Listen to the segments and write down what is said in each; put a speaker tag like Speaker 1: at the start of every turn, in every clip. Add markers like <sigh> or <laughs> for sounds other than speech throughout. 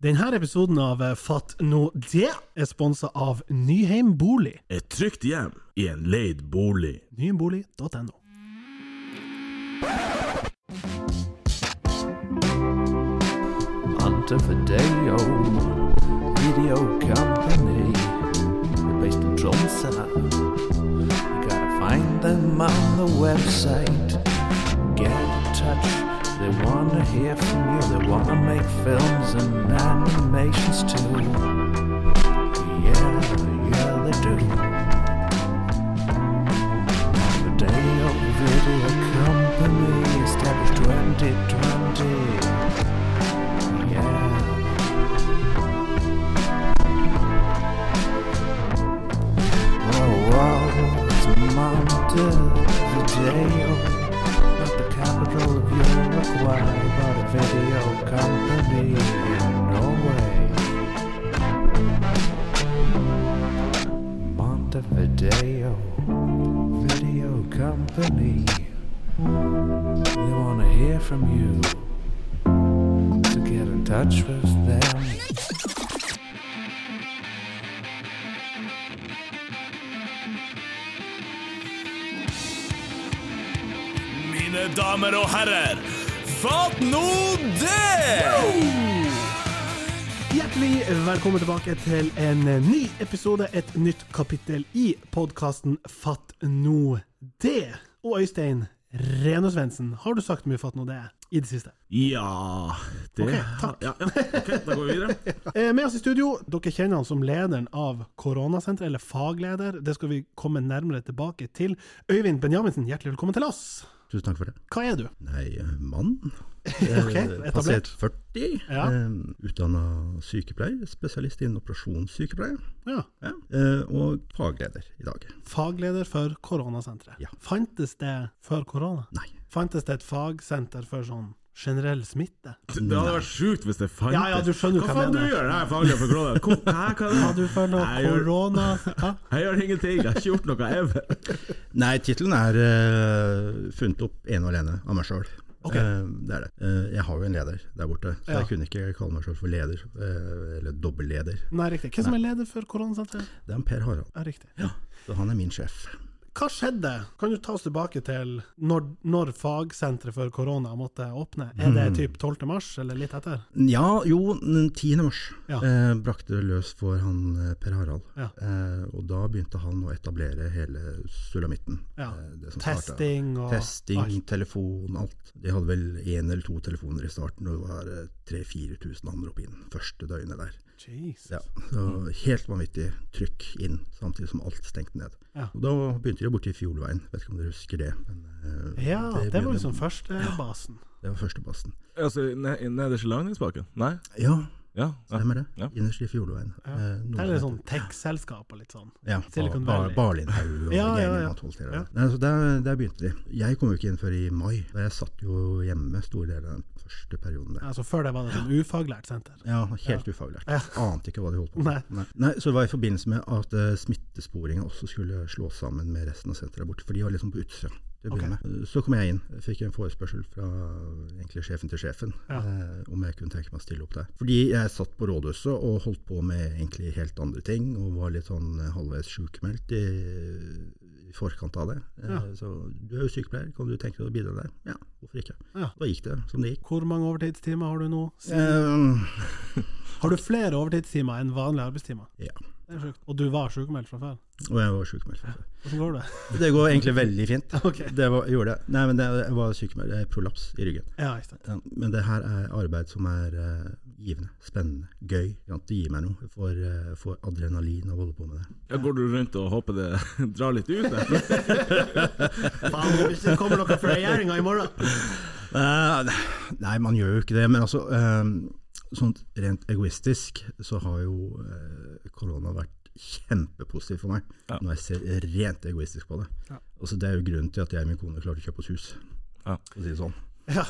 Speaker 1: Denne episoden av Fatt nå det er sponsa av Nyheim Bolig.
Speaker 2: Et trygt hjem i en leid bolig.
Speaker 1: Nyheimbolig.no.
Speaker 3: Hunter Fideo Video Company. They're based in Tromsø. You gotta find them on the website. Get in touch. They wanna hear from you. They wanna make films and animations too. Yeah, yeah, they do. Fideo Video Company established 2020. Yeah. Whoa, whoa, it's Monte Video. Not the capital of Uruguay, but a video company in Norway. Montevideo Video Company. They want to hear from you to get in touch with them.
Speaker 2: Mine damer og herrer, fatt nå det!
Speaker 1: Hjertelig velkommen tilbake til en ny episode, et nytt kapittel i podkasten Fatt nå det. Og Øystein Reno Svendsen, har du sagt mye Fatt nå det i det siste?
Speaker 2: Ja det
Speaker 1: Ok, takk.
Speaker 2: Ja, ja. Ok, da går vi videre.
Speaker 1: Eh, Med oss i studio, dere kjenner han som lederen av Koronasenteret, eller fagleder. Det skal vi komme nærmere tilbake til. Øyvind Benjaminsen, hjertelig velkommen til oss.
Speaker 4: Tusen takk for det.
Speaker 1: Hva er du?
Speaker 4: Nei, eh, mann.
Speaker 1: Ok, etablert.
Speaker 4: Passert 40.
Speaker 1: Ja.
Speaker 4: Utdanna sykepleier. Spesialist innen operasjonssykepleie.
Speaker 1: Ja,
Speaker 4: Ja. eh, Og fagleder i dag.
Speaker 1: Fagleder for Koronasenteret.
Speaker 4: Ja.
Speaker 1: Fantes det før korona?
Speaker 4: Nei.
Speaker 1: Fantes det et fagsenter for sånn generell smitte?
Speaker 2: Det hadde vært sjukt hvis det fantes.
Speaker 1: Ja, ja, du skjønner
Speaker 2: hva
Speaker 1: hva jeg
Speaker 2: faen
Speaker 1: mener.
Speaker 2: du gjør her, faglig for
Speaker 1: <laughs>
Speaker 2: Kråda? Kom, Hæ, hva er det?
Speaker 1: Du føler
Speaker 2: Jeg gjør-
Speaker 1: korona Hæ?
Speaker 2: Jeg gjør ingenting, jeg har ikke gjort noe ever.
Speaker 4: Nei, tittelen er eh, funnet opp ene og alene av meg sjøl.
Speaker 1: Ok.
Speaker 4: det er det. Eh, jeg har jo en leder der borte, så
Speaker 1: Ja.
Speaker 4: jeg kunne ikke kalle meg sjøl for leder. eh, eller dobbelleder.
Speaker 1: Nei, riktig. Hvem som er leder for Koronasenteret?
Speaker 4: Det er en Per Harald.
Speaker 1: Ja, riktig.
Speaker 4: Så han er min sjef.
Speaker 1: Hva skjedde? Kan du ta oss tilbake til når, når fagsenteret for korona måtte åpne? Er det typ 12. mars, eller litt etter?
Speaker 4: Ja, jo, den 10. mars
Speaker 1: Ja.
Speaker 4: eh, brakte det løs for han eh, Per Harald.
Speaker 1: Ja.
Speaker 4: Eh, og da begynte han å etablere hele sulamitten.
Speaker 1: Ja.
Speaker 4: Eh, det som startet-
Speaker 1: Testing og
Speaker 4: Testing,
Speaker 1: alt.
Speaker 4: telefon, alt. De hadde vel én eller to telefoner i starten, og det var eh, 3000-4000 anrop inn første døgnet der.
Speaker 1: Jeez.
Speaker 4: Ja, så Helt vanvittig trykk inn, samtidig som alt stengte ned.
Speaker 1: Ja.
Speaker 4: Og Da begynte de borti Fjordveien, vet ikke om dere husker det. Men, eh,
Speaker 1: Ja, det var
Speaker 4: begynte-
Speaker 1: liksom første basen.
Speaker 4: det var førstebasen.
Speaker 2: Altså, ne- i nederste langdingsbaken? Nei?
Speaker 4: Ja,
Speaker 2: Ja. ja.
Speaker 4: stemmer det.
Speaker 2: Ja.
Speaker 4: Innerst i Fjordveien.
Speaker 1: Ja.
Speaker 4: Eh, noe
Speaker 1: Det er
Speaker 4: som
Speaker 1: litt sånn tech-selskap og litt sånn.
Speaker 4: Ja,
Speaker 1: Silicon
Speaker 4: Bar-
Speaker 1: Valley.
Speaker 4: Bar- Barlindhaug
Speaker 1: <laughs>
Speaker 4: og
Speaker 1: Ja, ja,
Speaker 4: gjengen
Speaker 1: ja.
Speaker 4: man holdt til
Speaker 1: Ja.
Speaker 4: der. Nei, så der, der begynte de. Jeg kom jo ikke inn før i mai. og Jeg satt jo hjemme store deler av den første perioden der.
Speaker 1: Altså Før det var det sånn ufaglært senter.
Speaker 4: Ja, helt ufaglært.
Speaker 1: Ja.
Speaker 4: Ante ikke hva de holdt på
Speaker 1: Nei.
Speaker 4: med. Nei. Nei, så det var i forbindelse med at eh, smittesporingen også skulle slås sammen med resten av senteret borte, for de var liksom på utsida. til å begynne med. Så kom jeg inn, fikk en forespørsel fra egentlig sjefen til sjefen
Speaker 1: Ja.
Speaker 4: eh, om jeg kunne tenke meg å stille opp der. Fordi jeg satt på rådhuset og holdt på med egentlig helt andre ting, og var litt sånn eh, halvveis sjukmeldt i, i forkant av det. Eh,
Speaker 1: Ja.
Speaker 4: Så du er jo sykepleier, kan du tenke deg å bidra der? Ja, hvorfor ikke?
Speaker 1: Ja.
Speaker 4: Da gikk det som det gikk.
Speaker 1: Hvor mange overtidstimer har du nå?
Speaker 4: Eh,
Speaker 1: Har du flere overtidstimer enn vanlige arbeidstimer?
Speaker 4: ja,
Speaker 1: Det er sjukt. Og du var sjukmeldt fra før?
Speaker 4: og jeg var sjukmeldt. fra før.
Speaker 1: Hvordan går det?
Speaker 4: Det går egentlig veldig fint.
Speaker 1: <laughs> Ok.
Speaker 4: Det var, gjorde det. Nei, men det jeg var sykemeldt. Det er prolaps i ryggen.
Speaker 1: Ja, ikke sant.
Speaker 4: Ja, Men det her er arbeid som er eh, givende, spennende, gøy. ikke sant? Det gir meg noe. For, for adrenalin å holde på med det.
Speaker 2: Går du rundt og håper det <laughs> drar litt ut? Der?
Speaker 1: Faen, hvis det kommer noe fra regjeringa i morgen!
Speaker 4: Eh, <laughs> nei, man gjør jo ikke det. Men altså, eh, sånn rent egoistisk så har jo eh, korona vært kjempepositiv for meg.
Speaker 2: Ja.
Speaker 4: Når jeg ser rent egoistisk på det.
Speaker 1: Ja.
Speaker 4: Altså, det er jo grunnen til at jeg og min kone klarte å kjøpe oss hus.
Speaker 2: Ja.
Speaker 4: For å si det sånn.
Speaker 1: Ja,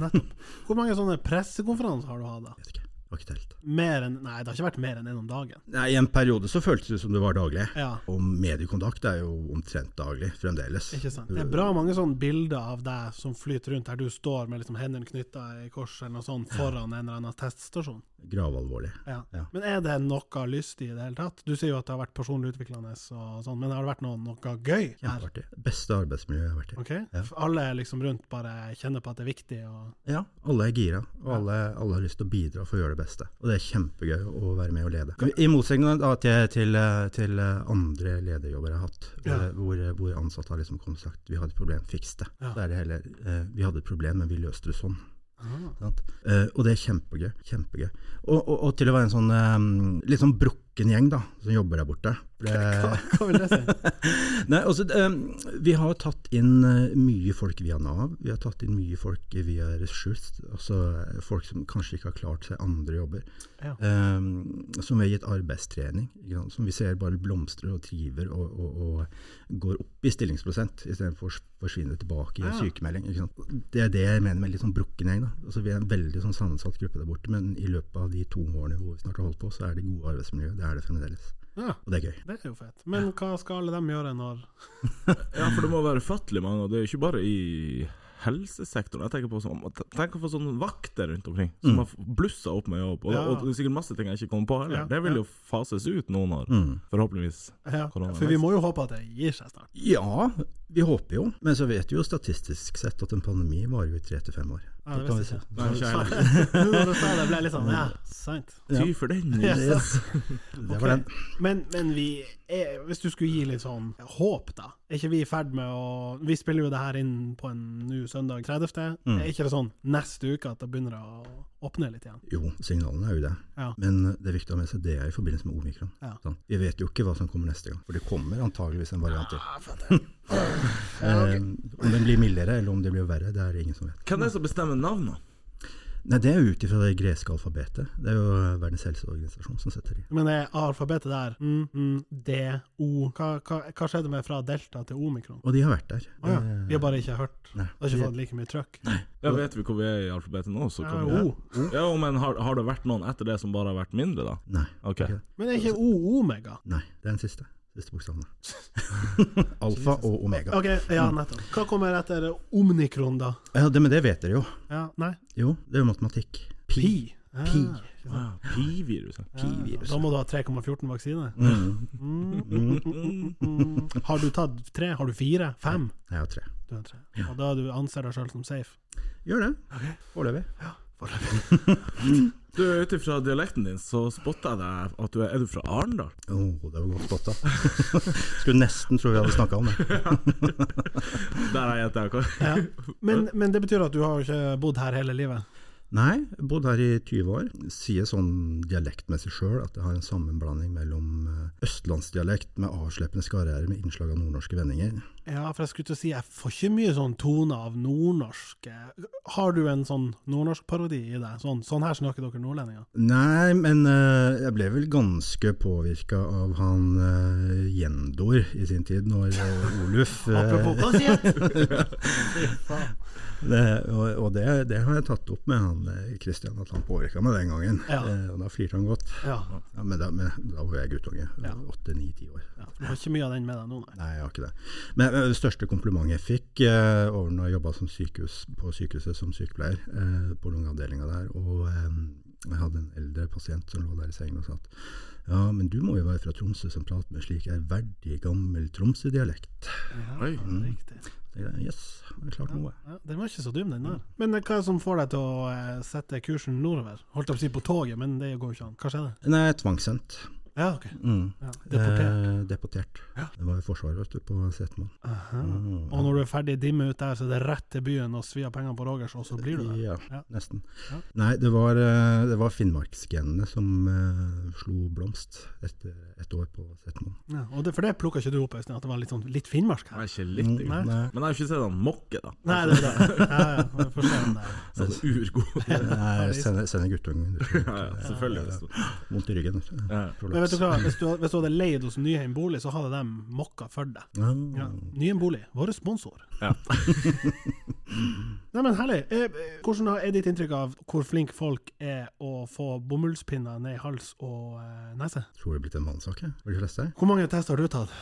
Speaker 1: nettopp. Hvor mange sånne pressekonferanser har du hatt? da?
Speaker 4: Jeg vet ikke. Jeg var ikke telt.
Speaker 1: Mer enn Nei, det har ikke vært mer enn én om dagen.
Speaker 4: Nei, I en periode så føltes det som det var daglig.
Speaker 1: Ja.
Speaker 4: Og mediekontakt er jo omtrent daglig fremdeles.
Speaker 1: Ikke sant? Det er bra mange sånne bilder av deg som flyter rundt, der du står med liksom hendene knytta i kors eller noe sånt foran en eller annen teststasjon.
Speaker 4: Gravalvorlig.
Speaker 1: Ja.
Speaker 4: Ja.
Speaker 1: Men er det noe lystig i det hele tatt? Du sier jo at det har vært personlig utviklende, og sånn, men har det vært noe, noe gøy her?
Speaker 4: Kjempeartig. Beste arbeidsmiljøet jeg har vært i.
Speaker 1: Ok? For Alle liksom rundt bare kjenner på at det er viktig. Og...
Speaker 4: Ja, alle er gira, og alle, alle har lyst til å bidra for å gjøre det beste. Og det er kjempegøy å være med og lede. I motsetning da til, til, eh, til eh, andre lederjobber jeg har hatt,
Speaker 1: Ja.
Speaker 4: eh, hvor, hvor ansatte har liksom kommet og sagt 'vi har et problem, fiks det'.
Speaker 1: Ja.
Speaker 4: Så er det heller eh, 'vi hadde et problem, men vi løste det sånn'.
Speaker 1: Ah.
Speaker 4: Sant? Eh, og det er kjempegøy. kjempegøy. Og, og, og til å være en sånn eh, litt sånn brukken gjeng da, som jobber der borte. For Det,
Speaker 1: Hva vil det si?
Speaker 4: Nei, altså, eh, vi har tatt inn eh, mye folk via Nav. Vi har tatt inn mye folk via ressurs. Altså eh, folk som kanskje ikke har klart seg andre jobber.
Speaker 1: Ja.
Speaker 4: Eh, som vi har gitt arbeidstrening. Ikke sant? Som vi ser bare blomstrer og triver og, og, og går opp i stillingsprosent istedenfor å forsvinne tilbake i en
Speaker 1: Ja.
Speaker 4: sykemelding. Ikke sant? Det er det jeg mener med litt sånn brukken gjeng. da. Altså, vi er en veldig sånn sammensatt gruppe der borte, men i løpet av de to årene hvor vi snart har holdt på, så er det gode arbeidsmiljø. Det er det fremdeles.
Speaker 1: Ja,
Speaker 4: Og det er gøy.
Speaker 1: det er jo fett. Men hva skal alle dem gjøre når
Speaker 2: Ja, for det må være ufattelig mange, og det er ikke bare i helsesektoren. Jeg tenker på sånn, tenk å få sånne vakter rundt omkring, som har blussa opp med jobb. Og,
Speaker 1: Ja.
Speaker 2: og det er sikkert masse ting jeg ikke kommer på heller.
Speaker 1: Ja,
Speaker 2: Det vil
Speaker 1: ja.
Speaker 2: jo fases ut noen år,
Speaker 4: Mm.
Speaker 2: forhåpentligvis.
Speaker 1: ja,
Speaker 2: Korona,
Speaker 1: For vi må jo håpe at det gir seg snart.
Speaker 4: Ja, vi håper jo. Men så vet vi jo statistisk sett at en pandemi varer jo i tre til fem år.
Speaker 1: Ja, det
Speaker 4: kan vi
Speaker 1: visste
Speaker 4: si.
Speaker 2: Nei, ikke heller.
Speaker 1: jeg. Nå når du sa det, ble jeg litt sånn Ja, sant.
Speaker 4: Ja.
Speaker 2: Ty for den.
Speaker 1: <laughs>
Speaker 4: Yes. Det var den.
Speaker 1: Ok. Men, men vi er, hvis du skulle gi litt sånn håp, da. Er ikke vi i ferd med å Vi spiller jo det her inn på en nå søndag 30.
Speaker 4: Mm.
Speaker 1: Er ikke det sånn neste uke at det begynner å åpne litt igjen?
Speaker 4: Jo, signalene er jo det.
Speaker 1: Ja.
Speaker 4: Men det er viktig å ha med seg det er i forbindelse med omikron.
Speaker 1: Ja.
Speaker 4: Sånn. Vi vet jo ikke hva som kommer neste gang, for det kommer antageligvis en variant til. <laughs> Eh, om den blir mildere eller om det blir verre, det er det ingen som vet.
Speaker 2: Hvem er det som bestemmer navnene?
Speaker 4: Nei, Det er jo ut ifra det greske alfabetet. Det er jo Verdens helseorganisasjon som setter de.
Speaker 1: Men er alfabetet der mm, mm, D, O hva, hva, hva skjedde med fra delta til omikron?
Speaker 4: Og de har vært der.
Speaker 1: Å ja.
Speaker 4: Eh,
Speaker 1: Vi har bare ikke hørt.
Speaker 4: Nei.
Speaker 1: Det har ikke fått like mye trøkk.
Speaker 2: Ja, vet vi hvor vi er i alfabetet nå? Så
Speaker 1: Ja,
Speaker 2: kan vi...
Speaker 1: o.
Speaker 2: Ja, men har, har det vært noen etter det som bare har vært mindre, da?
Speaker 4: Nei.
Speaker 2: Ok.
Speaker 4: ikke det.
Speaker 1: Men er ikke O omega?
Speaker 4: Nei, det er den siste. Siste bokstaven.
Speaker 1: <laughs>
Speaker 4: Alfa og omega. Mm.
Speaker 1: Ok, ja, nettopp. Hva kommer etter omnikron, da?
Speaker 4: Ja, det, men det vet dere jo.
Speaker 1: Ja, nei,
Speaker 4: Jo, det er jo matematikk.
Speaker 1: pi. Ah,
Speaker 4: Pi.
Speaker 1: ikke sant?
Speaker 2: Ah, Pi-viruset.
Speaker 4: Pi-virus.
Speaker 1: Da må du ha 3,14 vaksine.
Speaker 4: Mm.
Speaker 1: Mm. Har du tatt tre? Har du fire? Fem?
Speaker 4: Jeg har tre.
Speaker 1: Du har tre. Og da du anser deg sjøl som
Speaker 4: <laughs>
Speaker 1: safe?
Speaker 4: Gjør det. Foreløpig.
Speaker 2: Du, ut ifra dialekten din så spotta jeg deg at du er, er du fra Arendal.
Speaker 4: Å, det var godt spotta. <laughs> Skulle nesten tro vi hadde snakka om det.
Speaker 2: Der er jeg etter deg.
Speaker 1: Ja. Men, men det betyr at du har jo ikke bodd her hele livet?
Speaker 4: Nei, bodd her i 20 år. Sier sånn dialektmessig sjøl at jeg har en sammenblanding mellom eh, østlandsdialekt med avsleppende skarre-r med innslag av nordnorske vendinger.
Speaker 1: Ja, for jeg skulle til å si jeg får ikke mye sånn tone av nordnorsk. Har du en sånn nordnorskparodi i deg? Sånn, sånn her snakker dere nordlendinger.
Speaker 4: Nei, men eh, jeg ble vel ganske påvirka av han eh, Jendor i sin tid, når eh, Oluf
Speaker 1: <laughs>
Speaker 4: eh,
Speaker 1: Apropos pasient!
Speaker 4: Det, og og det, det har jeg tatt opp med han Kristian, at han påvirka meg den gangen.
Speaker 1: Ja.
Speaker 4: Eh, og da flirte han godt.
Speaker 1: <laughs> Ja,
Speaker 4: Ja, men, da, men da var jeg guttunge.
Speaker 1: Ja.
Speaker 4: Åtte-ni-ti år.
Speaker 1: ja, du har ikke mye av den med deg nå, nei.
Speaker 4: Nei, jeg har ikke det. Men, men det største komplimentet jeg fikk eh, over når jeg jobba som sykehus, på sykehuset som sykepleier, eh, på lungeavdelinga der, og eh, jeg hadde en eldre pasient som lå der i sengen og sa at ja, men du må jo være fra Tromsø som prater med slik ærverdig gammel Tromsø-dialekt.
Speaker 1: Ja,
Speaker 2: Oi.
Speaker 1: riktig.
Speaker 4: Så tenkte jeg, Yes, det er klart Mm. noe. Mm.
Speaker 1: Ja, den var ikke så dum, den der. Men eh, hva er det som får deg til å eh, sette kursen nordover? Holdt jeg på å si på toget, men det går jo ikke an. Hva skjedde?
Speaker 4: Nei, tvangssendt.
Speaker 1: Ja, ok.
Speaker 4: Mm.
Speaker 1: Ja, deportert.
Speaker 4: Eh, deportert. Det var jo Forsvaret vet du, på Setermoen.
Speaker 1: Eh, Aha.
Speaker 4: Mm.
Speaker 1: Og når du er ferdig dimme ut der, så er det rett til byen og svi av pengene på Rogers, og så blir du der.
Speaker 4: Ja,
Speaker 1: Ja.
Speaker 4: nesten.
Speaker 1: Ja.
Speaker 4: Nei, det var, eh, det var finnmarksgenene som eh, slo blomst etter et år på Setermoen.
Speaker 1: Ja, og det, for det plukka ikke du opp, Øystein, at det var litt, sånn, litt finnmarsk
Speaker 2: Jeg
Speaker 1: her?
Speaker 2: er ikke litt
Speaker 4: Mm,
Speaker 1: <laughs>
Speaker 2: engang.
Speaker 4: Nei.
Speaker 2: Men jeg har jo ikke sett han mokke, da.
Speaker 1: Nei, det er det. Ja, ja, vi får se om det er-
Speaker 2: Så han er
Speaker 4: <laughs>
Speaker 2: urgod.
Speaker 4: Nei, sende, sende guttungen. ut.
Speaker 2: Ja, ja, selvfølgelig. sånn.
Speaker 4: Vondt i ryggen. vet du.
Speaker 2: Ja.
Speaker 1: Men vet du hva, hvis du, hvis du hadde leid hos Nyheim bolig, så hadde de mokka for deg.
Speaker 4: Ja.
Speaker 1: Ja. Nyheim bolig, vår sponsor.
Speaker 2: Ja.
Speaker 1: Nei, <laughs> Nei, men herlig. Eh, eh, Hvordan er ditt inntrykk av hvor flink folk er å få bomullspinner ned i hals og eh, nese?
Speaker 4: Tror det er blitt en mannssak, jeg. For de fleste.
Speaker 1: Hvor mange tester har du tatt?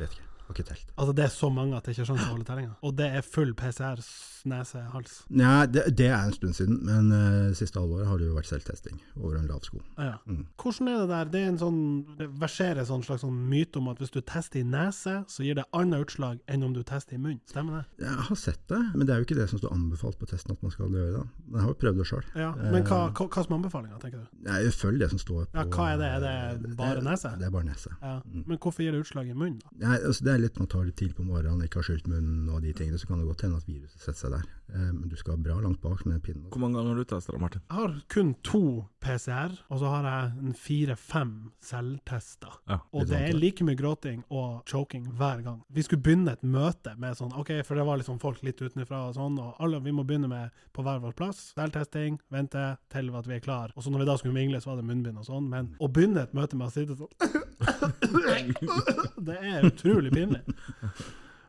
Speaker 4: Vet ikke. Har ikke telt.
Speaker 1: Altså, det er så mange at det ikke er sjanse å holde tellinga. Og det er full PCR, s- nese, hals.
Speaker 4: Nei, det, det er en stund siden, men eh, siste halvåret har det jo vært selvtesting over en lav sko.
Speaker 1: Ja. Hvordan er det der? Det, er en sånn, det verserer en sånn slags sånn myte om at hvis du tester i nese, så gir det annet utslag enn om du tester i munn. Stemmer det?
Speaker 4: Jeg har sett det, men det er jo ikke det som står anbefalt på testen at man skal gjøre det. Men jeg har jo prøvd det sjøl.
Speaker 1: Ja. Men hva, hva, hva som er anbefalinga, tenker du?
Speaker 4: Følg det som står på
Speaker 1: Ja, hva er det? Er det bare nese?
Speaker 4: Eh, Det er bare nese.
Speaker 1: Ja. Men hvorfor gir det utslag i munnen? da?
Speaker 4: Nei, altså det er litt man tar litt tidlig på morgenen, ikke har skylt munnen og de tingene, så kan det godt hende at viruset setter seg der. Eh, Men du skal bra langt bak med den pinnen.
Speaker 2: Hvor mange ganger har du testa det, Martin?
Speaker 1: Jeg har kun to PCR, og så har jeg en fire-fem selvtester.
Speaker 2: Ja.
Speaker 1: Og det er like mye gråting og choking hver gang. Vi skulle begynne et møte med sånn OK, for det var liksom folk litt utenfra og sånn, og alle vi må begynne med på hver vår plass. Selvtesting, vente til at vi er klar. Og så når vi da skulle mingle, så var det munnbind og sånn. Men å begynne et møte med å sitte sånn <laughs> Det er utrolig pinlig.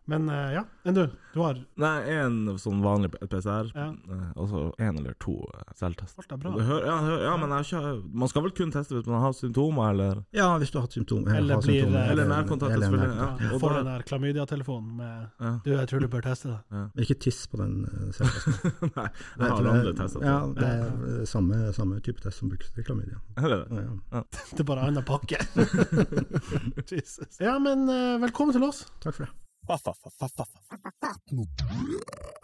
Speaker 1: Men eh, ja. Enn du? Du har
Speaker 2: Nei, én sånn vanlig p- PCR,
Speaker 1: Ja.
Speaker 2: eh, og så én eller to eh, selvtest.
Speaker 1: alt er
Speaker 2: Det
Speaker 1: bra.
Speaker 2: hører- ja, det hører- ja, men jeg har ikke, man skal vel kun teste hvis man har symptomer, eller
Speaker 4: Ja, hvis du har hatt symptomer.
Speaker 1: Eller
Speaker 4: har
Speaker 1: blir- eh,
Speaker 4: symptomer,
Speaker 2: Eller nærkontakt,
Speaker 4: eller
Speaker 2: selvfølgelig.
Speaker 4: nærkontakt.
Speaker 2: Ja.
Speaker 1: Ja,
Speaker 2: Og
Speaker 1: Får
Speaker 2: da-
Speaker 1: den der klamydia-telefonen med
Speaker 2: Ja. <laughs>
Speaker 1: Du, jeg tror du bør teste det.
Speaker 4: Men ikke tiss på den eh, <laughs> selvtesten.
Speaker 2: Nei, jeg har andre tester.
Speaker 4: Ja, det er eh, samme, samme type test som brukes til klamydia.
Speaker 2: Er det det?
Speaker 4: Ja, ja.
Speaker 1: Det er bare annen <laughs> pakke. Jesus. Ja, men eh, velkommen til oss.
Speaker 4: Takk for det.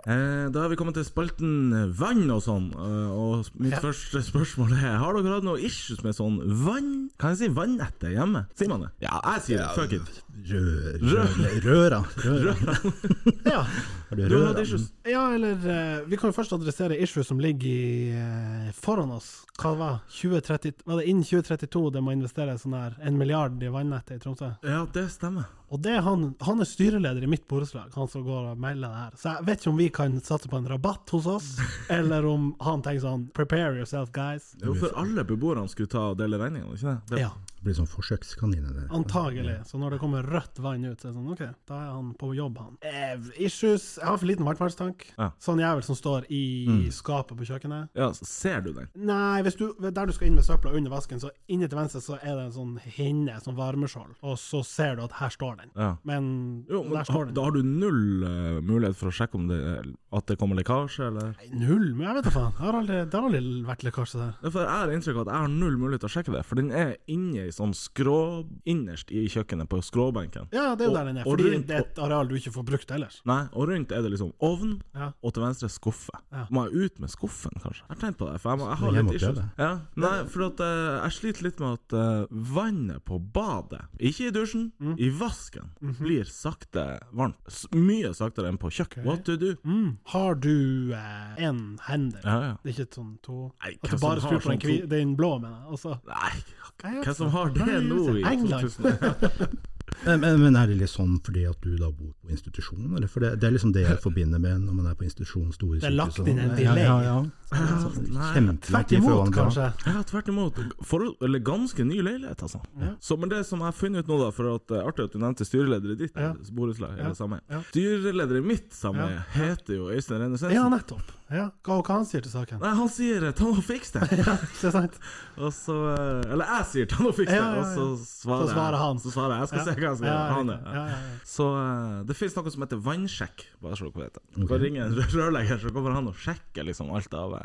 Speaker 2: Eh, da har vi kommet til spalten vann og sånn. eh, Og mitt
Speaker 1: Ja.
Speaker 2: første spørsmål er Har dere hatt noe issues med sånn vann? Kan jeg si vannette hjemme? Sier man det? Ja, jeg sier det. Fuck it.
Speaker 4: Rø- rø- Røra. <laughs> Røra.
Speaker 1: Ja,
Speaker 4: Har du
Speaker 2: Du har hatt issues?
Speaker 1: ja eller eh, Vi kan jo først adressere issues som ligger i, eh, foran oss. Hva var 2030, Var det innen 2032 det må investeres sånn her en milliard i vannettet i Tromsø?
Speaker 2: Ja, det stemmer.
Speaker 1: Og det er han, han er styreleder i mitt borettslag, han som går og melder det her. Så jeg vet ikke om vi kan satse på en rabatt hos oss, eller om han tenker sånn Prepare yourself, guys.
Speaker 2: Jo, for alle beboerne skulle ta og dele regninga, ikke det? det
Speaker 1: Ja,
Speaker 4: Det blir sånn forsøkskaniner. det.
Speaker 1: antagelig. Så når det kommer rødt vann ut, så er det sånn OK, da er han på jobb, han. Eh, issues Jeg har for liten varmtvannstank.
Speaker 2: Ja.
Speaker 1: Sånn jævel som står i skapet på kjøkkenet.
Speaker 2: Ja, så ser du den?
Speaker 1: Nei, hvis du, der du skal inn med søpla under vasken, så inne til venstre så er det en sånn hinne, sånn varmeskjold, og så ser du at her står den.
Speaker 2: Ja.
Speaker 1: Men
Speaker 2: Jo, men
Speaker 1: der står
Speaker 2: ha-
Speaker 1: den.
Speaker 2: da har du null eh, mulighet for å sjekke om det, at det kommer lekkasje, eller?
Speaker 1: Nei, Null, men jeg vet da faen. Jeg har aldri, det har aldri vært lekkasje der.
Speaker 2: Det er For jeg har inntrykk av at jeg har null mulighet til å sjekke det, for den er inne i sånn skrå... Innerst i kjøkkenet, på skråbenken.
Speaker 1: Ja, det er jo
Speaker 2: Og-
Speaker 1: der den er,
Speaker 2: og
Speaker 1: fordi
Speaker 2: rundt-
Speaker 1: det er et areal du ikke får brukt ellers.
Speaker 2: Nei, og rundt er det liksom ovn,
Speaker 1: Ja.
Speaker 2: og til venstre skuffe.
Speaker 1: Ja.
Speaker 2: Må jeg ut med skuffen, kanskje? Jeg har tenkt på det, for jeg, må, jeg
Speaker 4: Men
Speaker 2: har
Speaker 4: jeg må
Speaker 2: litt issues.
Speaker 4: prøve.
Speaker 2: Ja, nei, for at, eh, jeg sliter litt med at eh, vannet på badet, ikke i dusjen,
Speaker 1: Mm.
Speaker 2: i vasken,
Speaker 1: Mhm.
Speaker 2: blir sakte varmt. S mye saktere enn på kjøkken. What to do?
Speaker 1: Mm. Har du eh, en hender?
Speaker 2: Ja, ja.
Speaker 1: Det er ikke sånn to
Speaker 2: Nei,
Speaker 1: At
Speaker 2: hvem
Speaker 1: du bare
Speaker 2: som
Speaker 1: skrur
Speaker 2: har
Speaker 1: på den,
Speaker 2: sånn
Speaker 1: kvi,
Speaker 2: to-
Speaker 1: den blå, mener jeg. og så-
Speaker 2: Nei,
Speaker 1: Jeg vet
Speaker 2: hvem som
Speaker 1: ikke.
Speaker 2: har det
Speaker 1: Nei,
Speaker 2: nå i
Speaker 1: England. <laughs>
Speaker 2: 2000?
Speaker 4: Men, men, men er det litt sånn fordi at du da bor på institusjon, eller? For det, det er liksom det jeg forbinder med når man er på institusjon, store
Speaker 1: Det er lagt
Speaker 4: sykehus og
Speaker 1: inn en
Speaker 4: sånn.
Speaker 1: delay.
Speaker 4: Ja, Sånn ja, ja.
Speaker 2: Nei.
Speaker 4: Kjempelang
Speaker 1: Tvert
Speaker 4: tid før
Speaker 1: imot,
Speaker 4: vann blir av.
Speaker 1: kanskje.
Speaker 2: Ja, tvert imot. For, eller ganske ny leilighet, altså. Så, men det som jeg har funnet ut nå, da, for at eh, artig at du nevnte styreleder i ditt eh,
Speaker 1: Ja.
Speaker 2: borettslag,
Speaker 1: Ja.
Speaker 2: eller sameie.
Speaker 1: Ja.
Speaker 2: Styreleder i mitt sameie
Speaker 1: Ja.
Speaker 2: heter jo Øystein Rene Svendsen.
Speaker 1: Ja, nettopp. Ja. Hva, hva han sier til saken?
Speaker 2: <laughs> Nei, han sier eh, 'ta og fiks det',
Speaker 1: <laughs> Ja, det er sant.
Speaker 2: og så eh, Eller jeg sier 'ta og fiks det',
Speaker 1: Ja, ja, ja.
Speaker 2: og så svarer,
Speaker 1: Så svarer
Speaker 2: jeg-
Speaker 1: han.
Speaker 2: Så svarer jeg. Jeg skal
Speaker 1: Ja.
Speaker 2: se hva han skal
Speaker 1: Ja,
Speaker 2: gjøre. Han,
Speaker 1: riktig.
Speaker 2: ja.
Speaker 1: Ja, ja, ja.
Speaker 2: Så eh, det finnes noe som heter vannsjekk, bare så dere vet det. Du kan ringe en rør- rørlegger, så kommer han og sjekker liksom alt av eh.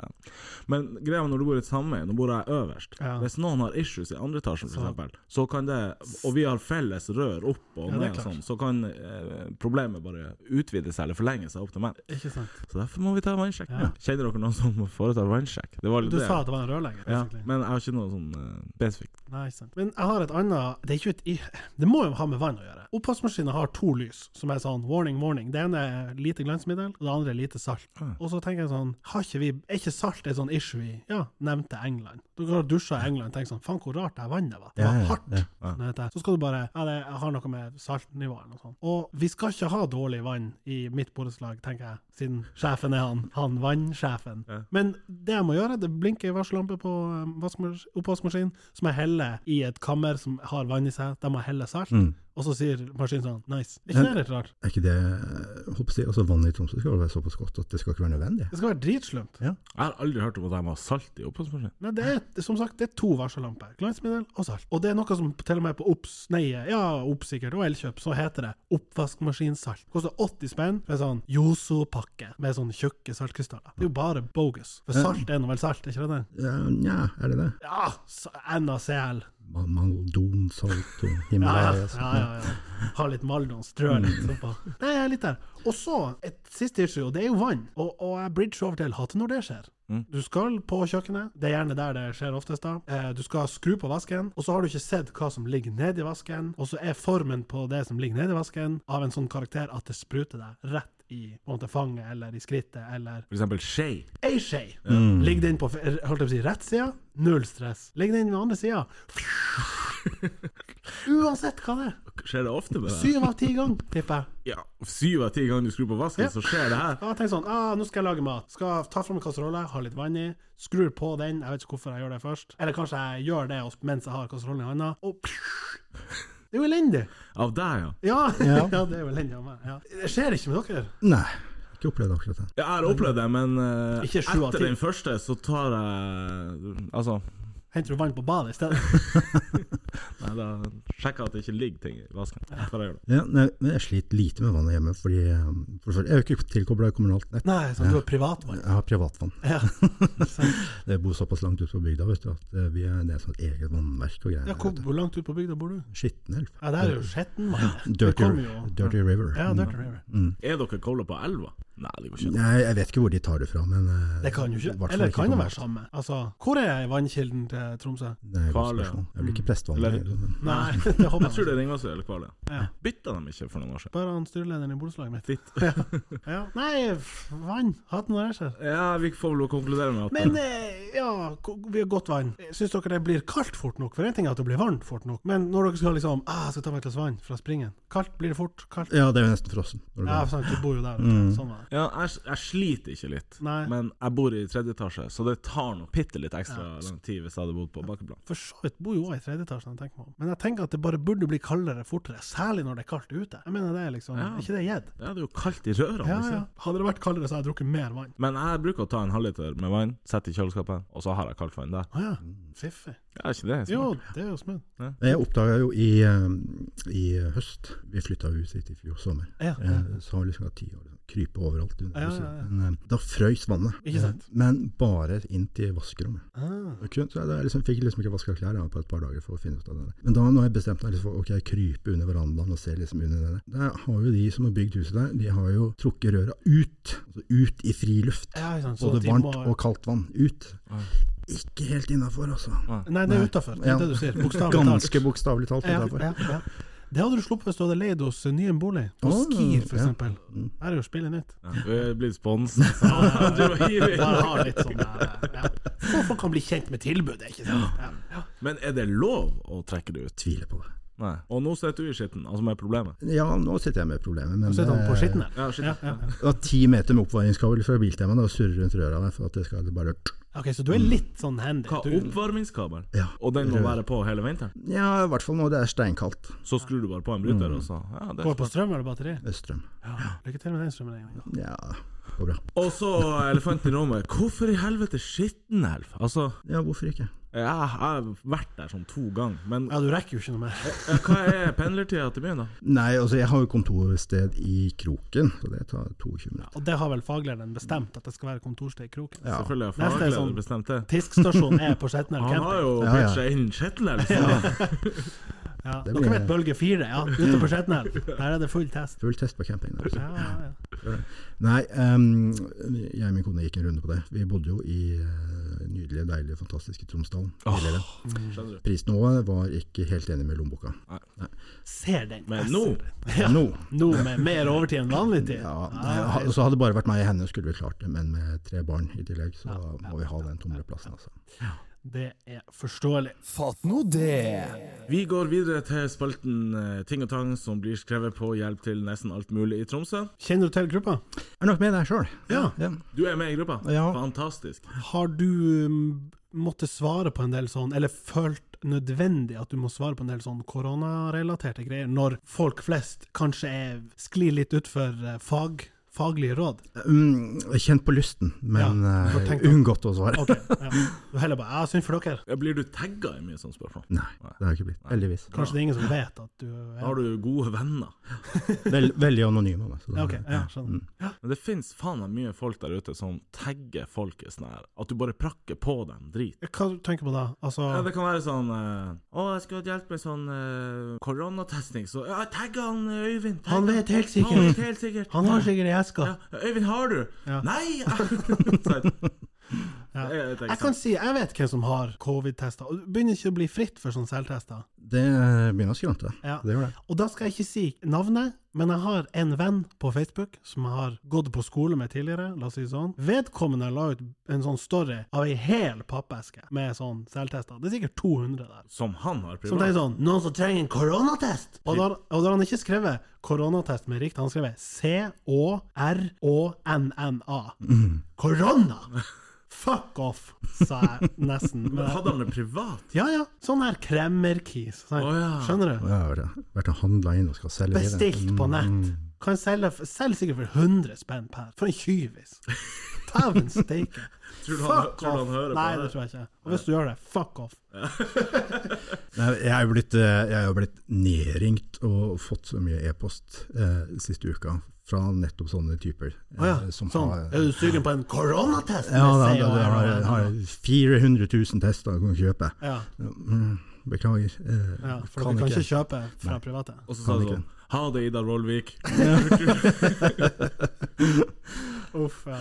Speaker 2: Men greia når du bor i et sameie, nå bor jeg øverst.
Speaker 1: Ja.
Speaker 2: Hvis noen har issues i andre etasjen, for eksempel, så kan det Og vi har felles rør opp
Speaker 1: Ja,
Speaker 2: og
Speaker 1: det er
Speaker 2: ned, og
Speaker 1: klart.
Speaker 2: sånn, så kan eh, problemet bare utvide seg eller forlenge seg opp til meg.
Speaker 1: Ikke sant.
Speaker 2: Så derfor må vi ta vannsjekk.
Speaker 1: Ja.
Speaker 2: Kjenner dere noen som foretar vannsjekk? Det var litt
Speaker 1: Du
Speaker 2: det.
Speaker 1: sa at det var en rørlegger?
Speaker 2: ja,
Speaker 1: basically.
Speaker 2: men jeg har ikke noe sånn eh, spesifikt.
Speaker 1: Nei, ikke sant. Men jeg har et annet Det er ikke et i- Det må jo ha med vann å gjøre. Oppvaskmaskinen har to lys som er sånn warning, warning. Det ene er lite glansmiddel, og det andre er lite salt. Og så tenker jeg sånn har ikke vi, Er ikke salt et sånn issue i ja, nevnte England? Du går og dusjer i England og tenker sånn Faen, hvor rart det her vannet var. Det
Speaker 4: Ja,
Speaker 1: var
Speaker 4: ja,
Speaker 1: hardt.
Speaker 4: ja.
Speaker 1: Sånn heter det. Så skal du bare Ja, det har noe med saltnivået eller noe sånt. Og vi skal ikke ha dårlig vann i mitt borettslag, tenker jeg, siden sjefen er han. Han vannsjefen.
Speaker 2: Ja.
Speaker 1: Men det jeg må gjøre, det blinker varsellampe på um,
Speaker 2: Mm.
Speaker 1: eh, vaskema- oppvaskmaskinen, som jeg heller i et kammer som har vann i seg. De må helle salt. Og så sier maskinen sånn Nice. Er ikke det litt rart?
Speaker 4: Er ikke det eh, håper jeg, å si, altså Vannet i Tromsø skal vel være såpass godt at det skal ikke være nødvendig?
Speaker 1: Det skal være dritslumt.
Speaker 2: Jeg har aldri hørt om at de har salt i oppvaskmaskinen.
Speaker 1: Nei, det er det- som sagt det er to varsellamper. Glansmiddel og salt. Og det er noe som til og med på Ops, nei, ja, Ops sikkert, og Elkjøp, så heter det oppvaskmaskinsalt. Koster 80 spenn for en sånn Yoso-pakke med sånne tjukke saltkrystaller. Det er jo bare bogus. For salt er nå vel salt, er ikke det det?
Speaker 4: Ja, Nja, er det det?
Speaker 1: Ja, s- NaCl.
Speaker 4: Ma- Maldon, salt og altså.
Speaker 1: Ja,
Speaker 4: Himalaya
Speaker 1: ja,
Speaker 4: og sånt.
Speaker 1: ja, ja, ja. Ha litt Maldon, strø litt oppå. Nei, jeg er litt der. Og så, et siste issue, og det er jo vann. Og, og jeg bridger over til hatet når det skjer. Du skal på kjøkkenet, det er gjerne der det skjer oftest da. Eh, Du skal skru på vasken, og så har du ikke sett hva som ligger nedi vasken, og så er formen på det som ligger nedi vasken av en sånn karakter at det spruter deg rett i på en måte, fanget, eller i skrittet, eller
Speaker 2: For eksempel skje.
Speaker 1: ei skje. Ligger den på f- holdt jeg på å si, rett side, null stress. Ligger den på andre sida, uansett hva det er.
Speaker 2: Skjer det ofte med det?
Speaker 1: Syv av ti ganger, tipper jeg.
Speaker 2: Ja, syv av ti ganger du skrur på vasken,
Speaker 1: Ja.
Speaker 2: så skjer det her.
Speaker 1: Ja, jeg tenker sånn, ah, nå skal jeg lage mat. Skal ta fram en kasserolle, ha litt vann i, skrur på den, jeg vet ikke hvorfor jeg gjør det først. Eller kanskje jeg gjør det også mens jeg har kasserollen i handa, og Det er jo elendig!
Speaker 2: Av deg, ja.
Speaker 1: Ja, <laughs> ja. det er jo elendig av meg. Ja. Det skjer ikke med dere.
Speaker 4: Nei, ikke opplevd akkurat det.
Speaker 2: Jeg har opplevd det, men eh,
Speaker 1: Ikke sju av
Speaker 2: etter
Speaker 1: ti.
Speaker 2: den første så tar jeg Altså,
Speaker 1: Henter du vann på badet i stedet?
Speaker 2: nei, da sjekker jeg at det ikke ligger ting i vasken. Før jeg gjør det.
Speaker 4: Ja, nei, men jeg sliter lite med vannet hjemme, fordi um, for det første, jeg er jo ikke tilkobla kommunalt
Speaker 1: <laughs>
Speaker 4: nett.
Speaker 1: Nei, sånn du har privatvann.
Speaker 4: Jeg har privatvann.
Speaker 1: Ja.
Speaker 4: Jeg bor såpass langt ute på bygda vet du, at eh, vi er det er sånn eget vannverk og greier.
Speaker 1: Ja, hvor, hvor langt ut på bygda bor du?
Speaker 4: Skittenelv.
Speaker 1: Ja, Mm. det er jo skjettenvann. Det
Speaker 4: Dirty,
Speaker 1: kommer jo
Speaker 4: dirty River.
Speaker 1: Ja, Dirty River.
Speaker 2: Er dere cola på elva? Nei, det går ikke.
Speaker 4: Nei, jeg vet ikke hvor de tar det fra, men eh,
Speaker 1: Det kan jo
Speaker 4: i
Speaker 1: ikke
Speaker 4: hvert fall
Speaker 1: Eller kan det
Speaker 4: kommunalt.
Speaker 1: være samme? Altså, hvor er vannkilden til Tromsø?
Speaker 4: Det er et godt
Speaker 2: Kvaløya.
Speaker 4: spørsmål. Jeg
Speaker 1: Mm.
Speaker 4: blir ikke prestevann.
Speaker 2: Eller-
Speaker 4: jeg, men-
Speaker 1: Nei, <laughs> det håper
Speaker 2: Jeg
Speaker 1: jeg
Speaker 2: tror det er Ringvassøy eller Kvaløya.
Speaker 1: Ja.
Speaker 2: Bytta de ikke for noen år siden?
Speaker 1: Bare han styrelederen i borettslaget mitt.
Speaker 2: Fitt.
Speaker 1: <laughs> Ja. Nei, f- vann. Hatten og ræsjer.
Speaker 2: Ja, vi får vel konkludere med at
Speaker 1: Men eh, ja, ko- vi har godt vann. Syns dere det blir kaldt fort nok? For én ting er at det blir varmt fort nok, men når dere skal liksom ah, jeg skal ta meg et glass vann fra springen Kaldt blir det fort. Kaldt.
Speaker 4: Ja, det er jo nesten frossen. når det
Speaker 1: Ja,
Speaker 4: går.
Speaker 1: sant, du bor jo der. Sånn var det.
Speaker 2: ja, jeg, jeg sliter ikke litt,
Speaker 1: Nei.
Speaker 2: men jeg bor i tredje etasje, så det tar nok bitte litt ekstra lang tid hvis jeg hadde bodd på bakkeplan.
Speaker 1: For så vidt bor jo også i tredje etasje, når jeg tenker meg om. Men jeg tenker at det bare burde bli kaldere fortere, særlig når det er kaldt ute. Jeg mener det er liksom
Speaker 2: Ja.
Speaker 1: ikke det gjedd?
Speaker 2: Ja, det er jo kaldt i rørene.
Speaker 1: Ja, ja.
Speaker 2: ikke sant?
Speaker 1: Hadde det vært kaldere, så hadde jeg drukket mer vann.
Speaker 2: Men jeg bruker å ta en halvliter med vann, sette i kjøleskapet, og så har jeg kaldt vann der.
Speaker 1: Å ja. Fiffig.
Speaker 2: Ja, er ikke det? smart?
Speaker 1: Jo, det er jo smooth.
Speaker 4: Men Jeg oppdaga jo i, eh, i høst Vi flytta jo hit i fjor sommer.
Speaker 1: Ja, ja.
Speaker 4: Eh, Så har vi liksom hatt tid å liksom krype overalt under
Speaker 1: Ja,
Speaker 4: huset.
Speaker 1: ja, ja.
Speaker 4: Men, eh, da frøys vannet.
Speaker 1: Ikke sant?
Speaker 4: Eh, Men bare inn til vaskerommet.
Speaker 1: Ah.
Speaker 4: Og kun- Så jeg liksom, fikk liksom ikke vaska klær da, på et par dager for å finne ut av det. der. Men da nå har jeg bestemt meg liksom, for ok, krype under verandaen og se liksom under det der. Der har jo de som har bygd huset der, de har jo trukket røra ut. Altså ut i friluft.
Speaker 1: Ja, ikke sant. Så
Speaker 4: Både
Speaker 1: de
Speaker 4: varmt
Speaker 1: må-
Speaker 4: og kaldt vann. Ut. Ikke helt innafor, altså.
Speaker 1: Nei, det er utafor. Det
Speaker 4: Ja.
Speaker 1: er det du
Speaker 4: <laughs>
Speaker 1: sier. Bokstavelig talt.
Speaker 4: Ganske bokstavelig talt
Speaker 1: Ja,
Speaker 4: innafor.
Speaker 1: ja, ja. Det hadde du sluppet hvis du hadde leid hos eh, Nyen bolig. På
Speaker 4: Å,
Speaker 1: Skir, for
Speaker 4: ja. Mm.
Speaker 1: eksempel. Der er jo spillet nytt.
Speaker 2: Ja, vi er blitt <laughs> sponset. så du må hive inn.
Speaker 1: Bare ha litt sånn der, eh, ja. Så folk kan bli kjent med tilbudet, ikke sant. Ja. Ja.
Speaker 2: <laughs> Men er det lov å trekke det ut?
Speaker 4: Tviler på det.
Speaker 2: Nei. Og nå sitter du i skitten, altså med problemet.
Speaker 4: Ja, nå sitter jeg med problemet, men
Speaker 1: Så sitter han på
Speaker 4: eh,
Speaker 1: skitten her.
Speaker 2: Ja, skitten.
Speaker 1: Ja, ja, ja.
Speaker 4: Det var ti meter med oppvaringskabel fra Biltema da, og surre rundt røra der for at det skal bare
Speaker 1: Ok, så
Speaker 4: Mm.
Speaker 1: du er litt sånn handy.
Speaker 2: Hva,
Speaker 1: Du,
Speaker 2: oppvarmingskabel?
Speaker 4: Ja.
Speaker 2: Og den må være på hele vinteren?
Speaker 4: Ja, i hvert fall nå det er steinkaldt.
Speaker 2: Så skrur du bare på en bryter, og så ja, det er
Speaker 1: går på strøm eller batteri?
Speaker 4: Øststrøm.
Speaker 1: Ja. Lykke til med den strømregninga.
Speaker 4: Ja, går bra.
Speaker 2: Og så elefanten i rommet. Hvorfor i helvete skittenelv? Altså,
Speaker 4: Ja, hvorfor ikke?
Speaker 2: jeg har vært der sånn to ganger, men
Speaker 1: Ja, du rekker jo ikke noe mer.
Speaker 2: ja, hva er pendlertida til byen, da?
Speaker 4: Nei, altså jeg har jo kontorsted i Kroken, så det tar 22 minutter.
Speaker 1: Og det har vel faglæreren bestemt, at det skal være kontorsted i kroken.
Speaker 4: Ja.
Speaker 2: Selvfølgelig har
Speaker 1: Neste er
Speaker 2: fagleder
Speaker 1: sånn-
Speaker 2: bestemt det.
Speaker 1: Tiskstasjonen er på Skjetnelv
Speaker 2: Han har
Speaker 1: camping.
Speaker 2: jo
Speaker 4: Ja, ja.
Speaker 2: pitcha inn skittenelv. <laughs> så-
Speaker 1: Ja.
Speaker 4: Det
Speaker 1: Dere
Speaker 4: blir-
Speaker 1: vet bølge fire, ja. Ute på
Speaker 4: <laughs>
Speaker 1: Skjetnelv. Der er det full test.
Speaker 4: Full test på camping. Der.
Speaker 1: Ja, ja, ja.
Speaker 4: Nei, ehm, jeg og min kone gikk en runde på det. Vi bodde jo i eh, nydelige, deilige, fantastiske Tromsdalen. tidligere.
Speaker 2: skjønner du.
Speaker 4: Prisnivået var ikke helt enig med lommeboka.
Speaker 1: Ser den.
Speaker 2: Men
Speaker 1: Jeg
Speaker 2: nå-
Speaker 1: ser den.
Speaker 2: <laughs>
Speaker 1: Ja.
Speaker 4: Nå
Speaker 1: Nå med mer overtid enn vanlig altså, tid.
Speaker 4: Ja, ha- så hadde det bare vært meg og henne, skulle vi klart det. Men med tre barn i tillegg, så må vi ha den tomre plassen, altså.
Speaker 1: Det er forståelig.
Speaker 3: Fatt nå det!
Speaker 2: Vi går videre til spalten eh, Ting og tang som blir skrevet på hjelp til nesten alt mulig i Tromsø.
Speaker 1: Kjenner du til gruppa?
Speaker 4: Er nok med deg sjøl.
Speaker 1: Ja.
Speaker 2: Du er med i gruppa.
Speaker 4: Ja.
Speaker 2: Fantastisk.
Speaker 1: Har du mm, måttet svare på en del sånn, eller følt nødvendig at du må svare på en del sånn koronarelaterte greier, når folk flest kanskje er, sklir litt utfor eh, fag, faglige råd?
Speaker 4: Mm, kjent på lysten, men
Speaker 1: Ja,
Speaker 4: eh,
Speaker 1: for tenk da.
Speaker 4: unngått å svare.
Speaker 1: Ok,
Speaker 2: <laughs>
Speaker 1: ja. Du heller bare 'ja, synd for dere'.
Speaker 2: Ja, Blir du tagga i mye sånne spørsmål?
Speaker 4: Nei, det har jeg ikke blitt. Heldigvis.
Speaker 1: Kanskje det er ingen som vet at du
Speaker 2: Da har
Speaker 1: er
Speaker 2: du gode venner.
Speaker 4: Vel, veldig anonym av meg. så da- Mm.
Speaker 1: Ja, Ok, ja, sånn. skjønner.
Speaker 2: Men det fins faen meg mye folk der ute som tagger folk i sånn her At du bare prakker på dem drit.
Speaker 1: Hva tenker du på da? Altså
Speaker 2: Ja, det kan være sånn eh, 'Å, jeg skulle hatt hjelp med sånn eh, koronatesting', så ja, tagga han eh, Øyvind. tagg
Speaker 1: Han vet helt sikkert.
Speaker 2: Han vet helt sikkert.
Speaker 1: Han har sikkert ei eske.
Speaker 2: ja, 'Øyvind, har du?'
Speaker 1: Ja.
Speaker 2: Nei!
Speaker 1: <laughs>
Speaker 2: jeg,
Speaker 1: Ja.
Speaker 2: jeg tenker sånn,
Speaker 1: Jeg kan si, jeg vet hvem som har covid-tester. og Det begynner ikke å bli fritt for sånne selvtester.
Speaker 4: Det eh, begynner å skrante.
Speaker 1: Ja.
Speaker 4: Det gjør det.
Speaker 1: Og da skal jeg ikke si navnet, men jeg har en venn på Facebook som jeg har gått på skole med tidligere, la oss si det sånn. Vedkommende la ut en sånn story av ei hel pappeske med sånn selvtester. Det er sikkert 200 der.
Speaker 2: Som han har
Speaker 1: Som tenker
Speaker 2: privat.
Speaker 1: sånn Noen som trenger en koronatest! Og da, og da har han ikke skrevet koronatest med riktig, han har skrevet C-O-R-O-N-N-A. Korona! Fuck off, sa jeg nesten. Men jeg-
Speaker 2: Hadde han det privat?
Speaker 1: ja, ja. Sånn her kremmerkis. Sånn.
Speaker 2: Å, ja.
Speaker 1: Skjønner du?
Speaker 4: Jeg har vært og handla inn og skal selge Mm. videre.
Speaker 1: Bestilt på nett. Kan selge, f- selge sikkert for 100 spenn per. For en tyvis. Dæven steike.
Speaker 2: <laughs> Tror du han,
Speaker 1: Fuck
Speaker 2: tror du
Speaker 1: off!
Speaker 2: han hører
Speaker 1: Nei,
Speaker 2: på
Speaker 1: det tror jeg ikke. Og hvis du gjør det, fuck off.
Speaker 4: Nei, Jeg er jo blitt, eh, jeg er jo blitt nedringt og fått så mye e-post eh, siste uka fra nettopp sånne typer. eh,
Speaker 1: Å ja.
Speaker 4: som
Speaker 1: Sånn.
Speaker 4: har-
Speaker 1: Er du sugen på en koronatest?
Speaker 4: ja, da,
Speaker 1: med
Speaker 4: da, da, har,
Speaker 1: CORONA?
Speaker 4: har 400 000 tester du kan kjøpe.
Speaker 1: Ja,
Speaker 4: Mm, Beklager. eh,
Speaker 1: ja, for du kan ikke kjøpe fra
Speaker 4: Nei.
Speaker 1: private.
Speaker 2: Og så sa
Speaker 4: Kan
Speaker 2: han sånn Ha det,
Speaker 1: <laughs>
Speaker 2: Idar Vollvik. <laughs> Eh,
Speaker 1: Uff, ja.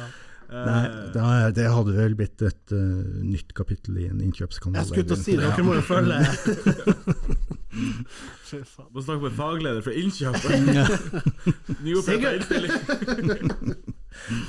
Speaker 4: Nei, da, det hadde vel blitt et eh, nytt kapittel i en innkjøpskanal.
Speaker 1: Jeg skulle til å si det,
Speaker 4: Ja.
Speaker 1: dere må jo følge Fy faen.
Speaker 2: <laughs> Må snakke med fagleder
Speaker 1: <laughs>
Speaker 2: for innkjøpet. <laughs> Nyoppretta
Speaker 1: Sigurd! <laughs>
Speaker 2: innstilling.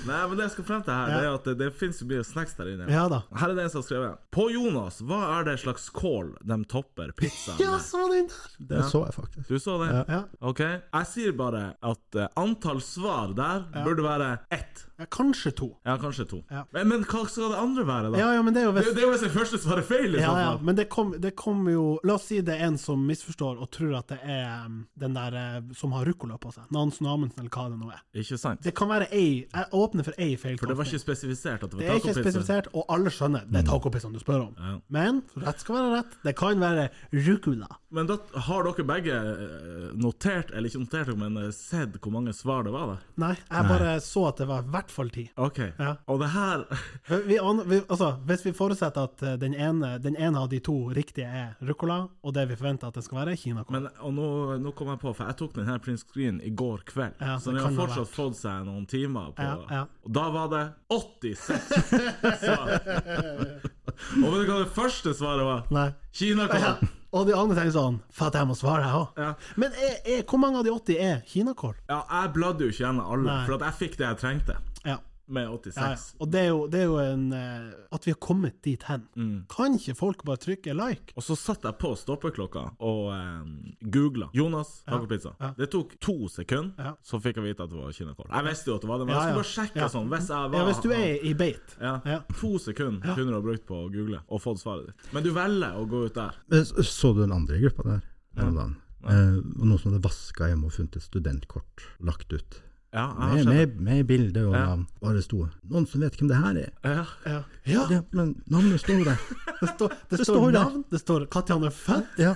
Speaker 2: Nei, men det jeg skal frem til her, det er at det, det fins jo mye snacks der inne.
Speaker 1: Ja da.
Speaker 2: Her er det en som har skrevet På Jonas, hva er det slags kål de topper pizzaen
Speaker 1: Ja,
Speaker 2: med?
Speaker 1: så den der!
Speaker 4: Det så jeg faktisk.
Speaker 2: Du så det?
Speaker 1: Ja.
Speaker 2: Ok. Jeg sier bare at eh, antall svar der burde være ett.
Speaker 1: Ja, kanskje to.
Speaker 2: Ja, kanskje to.
Speaker 1: Ja.
Speaker 2: Men, men hva skal det andre være, da?
Speaker 1: Ja, ja, men det er jo
Speaker 2: Det,
Speaker 1: hvis
Speaker 2: det er jo hvis det første svarer feil, i så
Speaker 1: Ja, ja,
Speaker 2: fall.
Speaker 1: men det kom- det kommer jo La oss si det er en som misforstår og tror at det er um, den der eh, som har ruccola på seg. Nansen og Amundsen, eller hva det nå er.
Speaker 2: Ikke sant?
Speaker 1: Det kan være ei Jeg åpner for ei
Speaker 2: For det var
Speaker 1: feiltolkning.
Speaker 2: ikke spesifisert at det
Speaker 1: Det
Speaker 2: var
Speaker 1: er ikke
Speaker 2: tacopizza.
Speaker 1: spesifisert, og alle skjønner det er tacopizzaen du spør om.
Speaker 2: Ja.
Speaker 1: Men rett skal være rett. Det kan være ruccola.
Speaker 2: Men da har dere begge eh, notert, eller ikke notert, men eh, sett hvor mange svar det var der?
Speaker 1: Nei, jeg bare så at det var i hvert fall ti.
Speaker 2: Ok.
Speaker 1: Ja.
Speaker 2: Og det her
Speaker 1: Vi, vi, an- vi, altså, hvis vi forutsetter at eh, den ene, den ene av de to riktige er ruccola, og det vi forventer at det skal være, er kinakål.
Speaker 2: men, Og nå, nå kom jeg på, for jeg tok den her print screen i går kveld,
Speaker 1: Ja,
Speaker 2: så
Speaker 1: det
Speaker 2: den har
Speaker 1: kan ha
Speaker 2: fortsatt
Speaker 1: vært.
Speaker 2: fått seg noen timer på
Speaker 1: Ja, ja.
Speaker 2: Og da var det <laughs> 86 svar! og vet du hva det første svaret var?
Speaker 1: Nei.
Speaker 2: Kinakål!
Speaker 1: Ja. Og de andre tenker sånn Fatt, jeg må svare, jeg òg.
Speaker 2: Ja.
Speaker 1: Men er, er, hvor mange av de 80 er kinakål?
Speaker 2: Ja, jeg bladde jo ikke gjennom alle,
Speaker 1: Nei.
Speaker 2: for at jeg fikk det jeg trengte,
Speaker 1: Ja.
Speaker 2: med
Speaker 1: ja, ja.
Speaker 2: 86.
Speaker 1: Og det er jo, det er jo en eh, At vi har kommet dit hen. Kan ikke folk bare trykke like?
Speaker 2: Og så satte jeg på stoppeklokka og eh, googla 'Jonas tacopizza'.
Speaker 1: ja.
Speaker 2: Det tok to sekunder,
Speaker 1: Ja.
Speaker 2: så fikk jeg vite at det var kinakål. Jeg visste jo at det var det, men
Speaker 1: Ja,
Speaker 2: jeg
Speaker 1: ja.
Speaker 2: skulle bare sjekke
Speaker 1: Ja.
Speaker 2: sånn hvis jeg var
Speaker 1: Ja, hvis du er i beit.
Speaker 2: ja.
Speaker 1: Ja.
Speaker 2: To sekunder kunne du ha brukt på å google og fått svaret ditt. Men du velger å gå ut der.
Speaker 4: Men så- Så du den andre gruppa der her om dagen? Eh, og noen som hadde vaska hjemme og funnet et studentkort lagt ut.
Speaker 2: Ja, jeg har
Speaker 4: Med,
Speaker 2: skjønt.
Speaker 4: med, med bilde og
Speaker 2: Ja.
Speaker 4: navn. Bare sto 'Noen som vet hvem det her er?'
Speaker 2: Ja.
Speaker 1: Ja. ja
Speaker 4: Ja, men navnet
Speaker 2: <laughs>
Speaker 4: står der.
Speaker 1: det, står- det,
Speaker 4: Det
Speaker 1: står
Speaker 4: står der.
Speaker 1: navn, det står når han er født.
Speaker 4: Ja.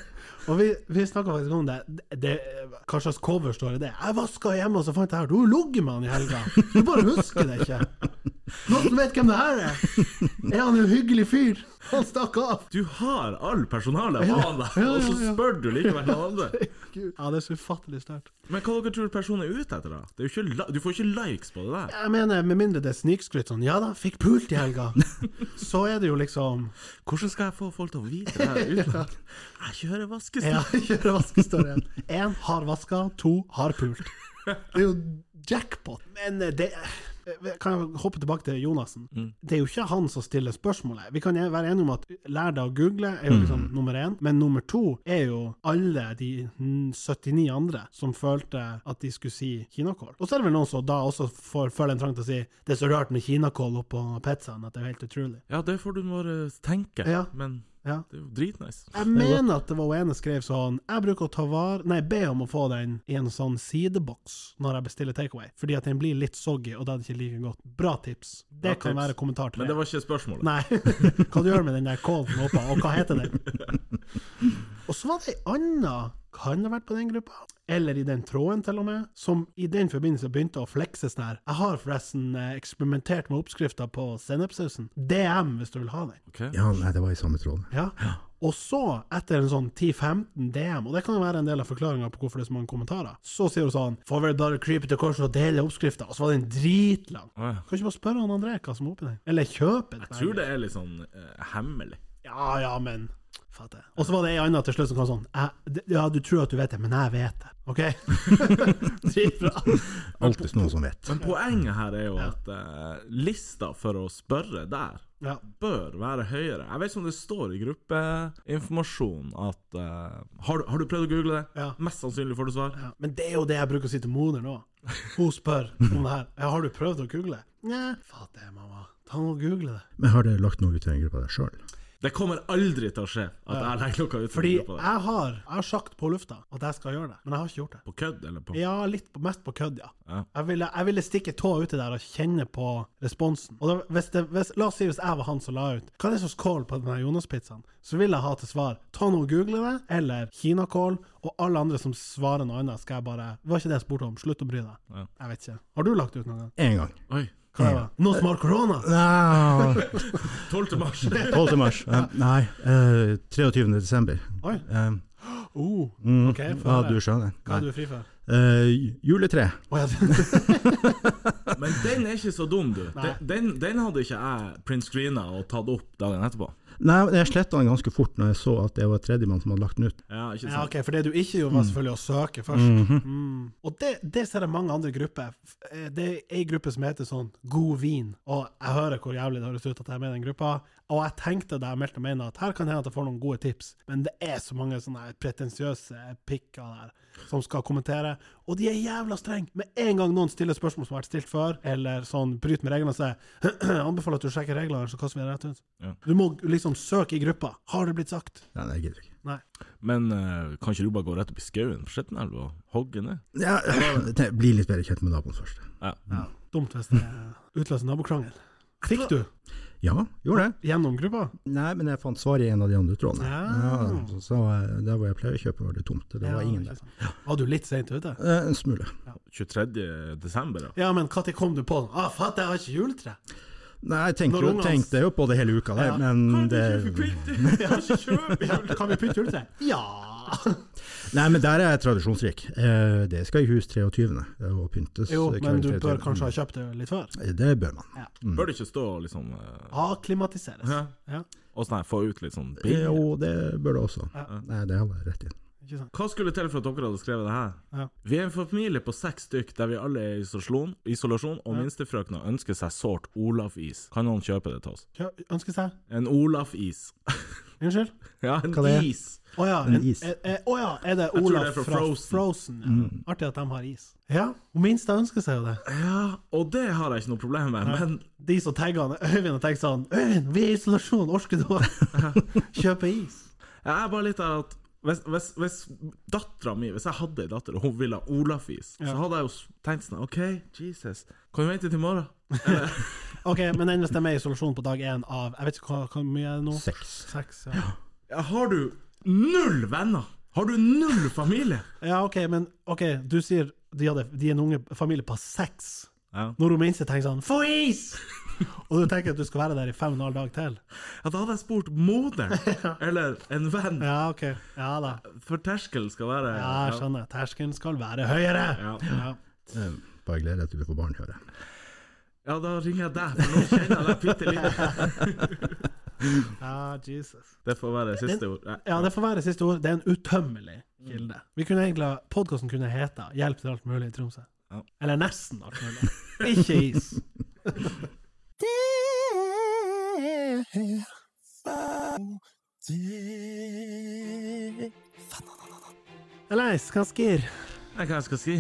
Speaker 1: Og vi, vi snakka faktisk om det. Det- det. Hva slags cover står i det? Jeg vaska hjemme, og så fant jeg her Du har ligget med han i helga! Du bare husker det ikke! Noen som vet hvem det her er? Er han en hyggelig fyr? Han stakk av!
Speaker 2: Du har all personalet på
Speaker 1: Ja.
Speaker 2: deg,
Speaker 1: Ja, ja,
Speaker 2: og så
Speaker 1: ja.
Speaker 2: spør du likevel han
Speaker 1: <laughs>
Speaker 2: andre.
Speaker 1: Ja, det er så ufattelig sterkt.
Speaker 2: Men hva dere tror personen er ute etter, da? Det er jo ikke li du får ikke likes på det der.
Speaker 1: Jeg mener, med mindre det er snikskryt sånn Ja da, fikk pult i helga! Så er det jo liksom
Speaker 2: Hvordan skal jeg få folk til å
Speaker 1: <laughs>
Speaker 2: vite det her uten at jeg kjører vaskestol?
Speaker 1: Ja, <laughs> gjøre vaskestorien. Én har vaska, to har pult. Det er jo jackpot. Men eh, det Kan jeg hoppe tilbake til Jonassen? Det er jo ikke han som stiller spørsmålet. Vi kan være enige om at lær deg å google er jo liksom nummer én, men nummer to er jo alle de mm, 79 andre som følte at de skulle si kinakål. Og så er det vel noen som da også får, føler en trang til å si det er så rart med kinakål oppå pizzaen at det er helt utrolig.
Speaker 2: Ja, det får du bare tenke,
Speaker 1: Ja.
Speaker 2: men
Speaker 1: Ja.
Speaker 2: Det er jo dritnice.
Speaker 1: Jeg mener at det var hun ene skrev sånn Jeg bruker å ta var, nei, be om å få den i en sånn sideboks når jeg bestiller takeaway, fordi at den blir litt soggy, og da er det ikke like godt. Bra tips. Det
Speaker 2: Bra
Speaker 1: kan
Speaker 2: tips.
Speaker 1: være kommentar til
Speaker 2: Men det var ikke spørsmålet.
Speaker 1: Nei. <laughs> Hva du gjør med den der kålen oppe, og hva heter den?
Speaker 2: <laughs>
Speaker 1: Og så var det ei anna, kan det ha vært på den gruppa, eller i den tråden til og med, som i den forbindelse begynte å flekse sånn her. Jeg har forresten eh, eksperimentert med oppskrifta på sennepssausen. DM, hvis du vil ha den.
Speaker 2: Ok.
Speaker 4: Ja, nei, det var i samme tråd.
Speaker 1: Ja. Og så, etter en sånn 10-15 DM, og det kan jo være en del av forklaringa på hvorfor det er så mange kommentarer, så sier hun sånn Får vel bare krype til korset og dele oppskrifta, og så var den dritlang.
Speaker 2: Å, ja.
Speaker 1: Kan ikke bare spørre han André hva som er oppi den? Eller kjøpe den?
Speaker 2: Jeg tror det er litt sånn eh, hemmelig.
Speaker 1: Ja, ja, men Fatter. jeg. Og så var det ei anna til slutt som kom sånn «Jeg- det- Ja, du tror at du vet det, men jeg vet det. OK? <laughs> Dritbra.
Speaker 4: Alltid noen som vet.
Speaker 2: Men poenget her er jo at eh, lista for å spørre der
Speaker 1: Ja.
Speaker 2: bør være høyere. Jeg vet ikke om det står i gruppeinformasjon at eh, har, du, har du prøvd å google det?
Speaker 1: Ja.
Speaker 2: Mest sannsynlig får du svar.
Speaker 1: Ja, men det er jo det jeg bruker å si til moder nå. Hun spør om det her. Ja, har du prøvd å google? Nei. Fatter, mamma. Ta nå og google det.
Speaker 4: Men har dere lagt noe ut i den gruppa der sjøl?
Speaker 2: Det kommer aldri til å skje at jeg legger noe ut. i
Speaker 1: Fordi
Speaker 2: gruppa der.
Speaker 1: jeg har, jeg har sagt på lufta at jeg skal gjøre det, men jeg har ikke gjort det.
Speaker 2: På kødd, eller på
Speaker 1: Ja, litt på, mest på kødd, ja.
Speaker 2: Ja.
Speaker 1: Jeg ville, jeg ville stikke tåa uti der og kjenne på responsen. Og da, hvis det, hvis, la oss si hvis jeg var han som la ut Hva er det som skål på denne Jonas-pizzaen? Så vil jeg ha til svar ta nå og google det, eller kinakål, og alle andre som svarer noe annet, skal jeg bare Var ikke det jeg spurte om? Slutt å bry deg.
Speaker 2: Ja.
Speaker 1: Jeg vet ikke. Har du lagt ut noen gang?
Speaker 4: Én gang.
Speaker 2: Oi!
Speaker 1: Hva det var? Noe som har korona?
Speaker 4: Nei,
Speaker 2: 12.
Speaker 1: <laughs>
Speaker 2: mars!
Speaker 4: 12. Ah, mars. Eh, Nei, eh, 23. desember.
Speaker 1: Oi.
Speaker 4: Eh,
Speaker 1: Oh,
Speaker 4: mm,
Speaker 1: Ok, få
Speaker 4: ja,
Speaker 1: høre.
Speaker 4: du skjønner.
Speaker 1: hva
Speaker 4: Nei.
Speaker 1: er du fri for?
Speaker 4: Eh, juletre.
Speaker 1: Å, ja.
Speaker 2: Men den er ikke så dum, du.
Speaker 1: Nei.
Speaker 2: Den, den, den hadde ikke jeg printscreena og tatt opp dagen etterpå.
Speaker 4: Nei, men jeg sletta den ganske fort når jeg så at det var tredjemann som hadde lagt den ut.
Speaker 2: Ja, ikke
Speaker 1: Ja,
Speaker 2: sant? Mm. Mhm.
Speaker 1: ok, For det du ikke gjorde, var selvfølgelig å søke først. mm. Og det, det ser jeg mange andre grupper. F- eh, Det er ei gruppe som heter sånn God vin, og jeg hører hvor jævlig det høres ut at jeg er med i den gruppa, og jeg tenkte da jeg meldte meg inn at her kan det hende at jeg får noen gode tips, men det er så mange sånne her pretensiøse pikker der som skal kommentere, og de er jævla strenge. Med en gang noen stiller spørsmål som har vært stilt før, eller sånn bryter med reglene, så er jeg <clears throat> anbefaler at du sjekker reglene, så kaster vi det rett ut.
Speaker 2: Ja.
Speaker 1: Du må liksom søke i gruppa. Har det blitt sagt?
Speaker 4: Nei, det gidder jeg ikke.
Speaker 1: Nei.
Speaker 2: Men eh, kan ikke du bare gå rett opp i skauen på Skjettenelv og hogge ned?
Speaker 4: <laughs> Ja, det blir litt bedre kjent med naboen først.
Speaker 2: Ja.
Speaker 1: Ja, dumt hvis det utløser nabokrangel. Fikk du
Speaker 4: Ja, gjorde det.
Speaker 1: gjennom gruppa?
Speaker 4: Nei, men jeg fant svar i en av de andre trådene.
Speaker 1: Ja.
Speaker 4: så, så eh, der hvor jeg pleier å kjøpe, var det tomt. Det var ingen der.
Speaker 1: Var du litt seint ute?
Speaker 4: Eh, en smule.
Speaker 2: 23. desember, ja.
Speaker 1: Ja, men når kom du på den? Ah, fatt, jeg har ikke juletre!
Speaker 4: Nei, jeg
Speaker 1: Når
Speaker 4: tenkte, jo-
Speaker 1: ungene-
Speaker 4: tenkte jo på det hele uka der,
Speaker 1: Ja.
Speaker 4: men det
Speaker 1: <laughs>
Speaker 2: Jeg har ikke
Speaker 4: <laughs>
Speaker 2: kjøpt
Speaker 1: Ja, kan vi putte juletre? Ja!
Speaker 4: Nei, men der er jeg tradisjonsrik. Eh, det skal i hus 23. og pyntes. eh,
Speaker 1: Jo,
Speaker 4: kveld
Speaker 1: men du
Speaker 4: 23..
Speaker 1: bør kanskje ha kjøpt det litt før.
Speaker 4: Det bør man.
Speaker 2: Bør det ikke stå og liksom eh,
Speaker 1: Akklimatiseres.
Speaker 2: Ja.
Speaker 1: Mm. Ja,
Speaker 2: Og sånn her, få ut litt sånn bilder?
Speaker 4: Jo, det bør det også.
Speaker 1: Ja.
Speaker 4: Nei, det har jeg rett i.
Speaker 1: ikke sant?
Speaker 2: Hva skulle til for at dere hadde skrevet det her?
Speaker 1: Ja.
Speaker 2: Vi er en familie på seks stykk der vi alle er i isolasjon, isolasjon og minstefrøkna ønsker seg sårt Olaf-is. Kan noen kjøpe det til oss?
Speaker 1: Kjø ønske seg
Speaker 2: En Olaf-is. <laughs>
Speaker 1: Unnskyld?
Speaker 2: ja, en
Speaker 4: Hva det er?
Speaker 2: is.
Speaker 1: Å ja,
Speaker 4: En
Speaker 1: en,
Speaker 4: is.
Speaker 1: er- er- å ja, er det
Speaker 2: tror
Speaker 1: Olaf
Speaker 2: det er
Speaker 1: fra
Speaker 2: fra
Speaker 1: Frozen?
Speaker 2: Frozen.
Speaker 1: ja.
Speaker 4: Mm.
Speaker 1: Artig at de har is. Ja, hun minste ønsker seg jo det.
Speaker 2: Ja, og det har jeg ikke noe problem med, men
Speaker 1: De som tagger han, Øyvind og tenker sånn Øyvind, vi er i isolasjon, orker du å <laughs> kjøpe is?
Speaker 2: jeg er bare litt der at hvis, hvis, hvis dattera mi Hvis jeg hadde ei datter og hun ville ha Olaf-is, så hadde jeg jo s- tenkt sånn OK, Jesus, kan du vente til i morgen?
Speaker 1: Ok, men den hvis de er i isolasjon på dag én av Jeg vet ikke hva, hva mye er det nå?
Speaker 4: Seks.
Speaker 1: Seks, ja.
Speaker 2: Ja, har du null venner? Har du null familie?
Speaker 1: ja, ok, men ok, du sier de, hadde, de er en unge familie på seks.
Speaker 2: Ja.
Speaker 1: Når hun minste tenker sånn 'Få is!' Og du tenker at du skal være der i fem og en halv dag til?
Speaker 2: Ja, da hadde jeg spurt
Speaker 1: <laughs>
Speaker 2: moderen eller en venn,
Speaker 1: Ja, ok. Ja da.
Speaker 2: for terskelen skal være
Speaker 1: Ja, jeg skjønner. Terskelen skal være høyere!
Speaker 2: Ja.
Speaker 1: Ja.
Speaker 4: Eh, Bare gleder deg til du får barn, hører jeg.
Speaker 2: Ja, da ringer jeg deg, for nå kjenner jeg deg bitte litt.
Speaker 1: Ah, Jesus.
Speaker 2: Det får være siste ord. Nei.
Speaker 1: Ja, det får være siste ord. Det er en utømmelig kilde. Vi kunne egentlig, Podkasten kunne hete 'Hjelp til alt mulig i Tromsø'.
Speaker 2: Ja.
Speaker 1: Eller nesten alt mulig. Ikke is. Eller nei, skansker.
Speaker 2: Nei, hva jeg skal si?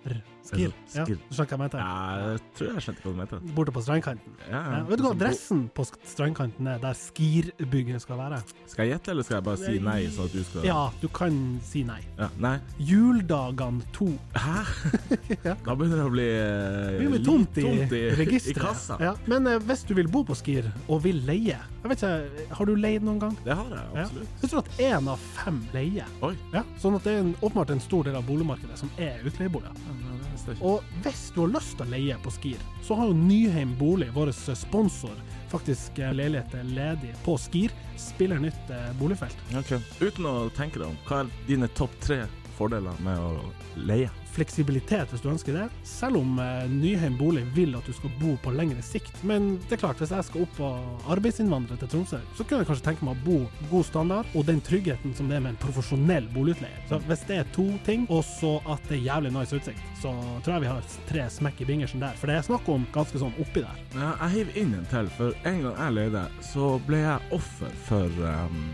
Speaker 1: sånn? Skir.
Speaker 2: Altså,
Speaker 1: Ja, du
Speaker 2: skir.
Speaker 1: skjønner hva jeg mente?
Speaker 2: Jeg tror jeg skjønte hva du mente.
Speaker 1: Borte på strandkanten.
Speaker 2: Ja,
Speaker 1: Ja, Sånn vet du hva adressen på sk- strandkanten er, der skirbygget skal være?
Speaker 2: Skal jeg gjette, eller skal jeg bare si nei, sånn at du skal
Speaker 1: Ja, du kan si nei.
Speaker 2: Ja, nei.
Speaker 1: Juldagene to.
Speaker 2: Hæ?
Speaker 1: <laughs>
Speaker 2: Da begynner det å bli eh,
Speaker 1: Det blir
Speaker 2: litt
Speaker 1: mye tomt i,
Speaker 2: i
Speaker 1: registeret.
Speaker 2: kassa.
Speaker 1: Ja. Men eh, hvis du vil bo på Skir, og vil leie jeg vet ikke, Har du leid noen gang?
Speaker 2: Det har jeg
Speaker 1: Ja.
Speaker 2: absolutt.
Speaker 1: Jeg tror at én av fem leier.
Speaker 2: Oi.
Speaker 1: Ja. Sånn at det er en, åpenbart en stor del av boligmarkedet som er utleieboliger.
Speaker 2: Ja, nei, det visste jeg ikke.
Speaker 1: Og hvis du har lyst til å leie på Skir, så har jo Nyheim Bolig, vår sponsor, faktisk eh, leiligheter ledig på Skir. Spiller nytt eh, boligfelt.
Speaker 2: Ok. Uten å tenke deg om, hva er dine topp tre fordeler med å leie?
Speaker 1: Fleksibilitet hvis du ønsker det, selv om eh, Nyheim Bolig vil at du skal bo på lengre sikt. Men det er klart, hvis jeg skal opp og arbeidsinnvandre til Tromsø, så kunne jeg kanskje tenke meg å bo god standard, og den tryggheten som det er med en profesjonell boligutleier. Så hvis det er to ting, og så at det er jævlig nice utsikt, så tror jeg vi har tre smekk i bingersen der. For det er snakk om ganske sånn oppi der.
Speaker 2: Ja, Jeg hiver inn en til, for en gang jeg leide, så ble jeg offer for ehm,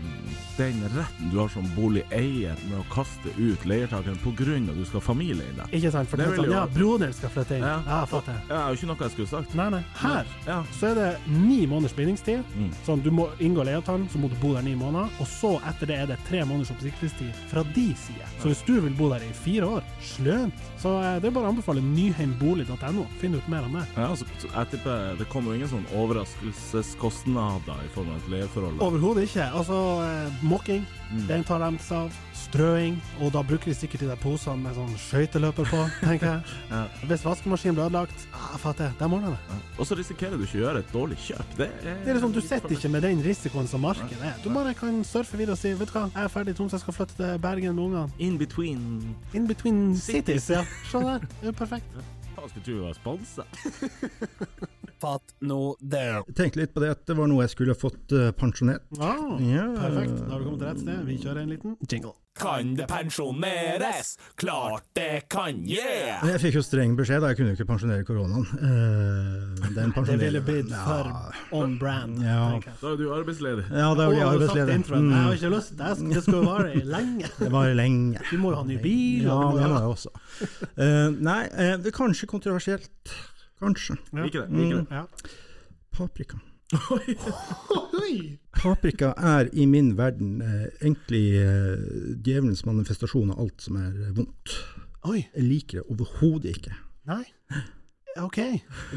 Speaker 2: den retten du har som boligeier med å kaste ut leiertakeren pga. at du skal ha familie i det.
Speaker 1: Ikke sant? For det
Speaker 2: Det
Speaker 1: er
Speaker 2: vil
Speaker 1: sånn,
Speaker 2: jo-
Speaker 1: ja, broderen skal flytte inn. Ja,
Speaker 2: Ja.
Speaker 1: fatter jeg.
Speaker 2: Det er jo ikke noe jeg skulle sagt.
Speaker 1: Nei, nei. Her
Speaker 2: Ja.
Speaker 1: så er det ni måneders bindingstid.
Speaker 2: Mm.
Speaker 1: Sånn, du må inngå leieavtalen, så må du bo der ni måneder. Og så etter det er det tre måneders oppsiktelsestid fra de side. Så hvis du vil bo der i fire år, slønt. Så eh, det er bare å anbefale nyheimbolig.no. Finn ut mer om det.
Speaker 2: Ja, altså, så jeg tipper det kommer jo ingen sånn overraskelseskostnader i form av et leieforhold.
Speaker 1: Overhodet ikke. Altså, eh, mokking,
Speaker 2: Mm.
Speaker 1: den tar de seg av. Strøing, og da bruker de sikkert de der posene med sånn skøyteløper på, tenker jeg.
Speaker 2: <laughs> Ja.
Speaker 1: Hvis vaskemaskinen blir ødelagt, ah, fatter jeg, de ordner det.
Speaker 2: Og så risikerer du ikke å gjøre et dårlig kjøp. Det er,
Speaker 1: Det er liksom, Du sitter ikke med den risikoen som markedet er. Du bare kan surfe videre og si vet du hva, jeg er ferdig i Tromsø, jeg skal flytte til Bergen med ungene.
Speaker 2: In between
Speaker 1: In between cities, ja. Se der. Det er jo perfekt.
Speaker 2: Faen, skulle tro vi var sponsa.
Speaker 5: Fatt nå det.
Speaker 4: Jeg tenkte litt på det at det var noe jeg skulle ha fått eh, pensjonert.
Speaker 1: Wow.
Speaker 4: Ja.
Speaker 1: Ah, Perfekt. Da har du kommet til rett sted. Vi kjører en liten jingle.
Speaker 5: Kan det pensjoneres? Klart det kan, yeah!
Speaker 4: Jeg fikk jo streng beskjed, da. Jeg kunne jo ikke pensjonere koronaen. Eh, den
Speaker 1: Det ville
Speaker 4: pensjonerer-
Speaker 1: blitt for on brand.
Speaker 4: Ja.
Speaker 1: tenker jeg.
Speaker 2: Da er du arbeidsledig.
Speaker 4: Ja, da
Speaker 1: Å,
Speaker 4: blir jeg
Speaker 1: har du sagt
Speaker 4: arbeidsledig. Mm.
Speaker 1: introen? Jeg har ikke lyst. Det sk- Det skulle vare i lenge.
Speaker 4: Det var lenge.
Speaker 1: Du må jo ha ny bil.
Speaker 4: Ja,
Speaker 1: og du
Speaker 4: det
Speaker 1: må
Speaker 4: må
Speaker 1: jo-
Speaker 4: jeg også. Eh, nei, eh, det er kanskje kontroversielt. Kanskje. Mm.
Speaker 2: Liker det. liker det.
Speaker 1: Ja. Mm.
Speaker 4: Paprika.
Speaker 1: <laughs> Oi!
Speaker 4: Paprika er i min verden eh, egentlig eh, djevelens manifestasjon av alt som er eh, vondt.
Speaker 1: Oi.
Speaker 4: Jeg liker det overhodet ikke.
Speaker 1: Nei. OK.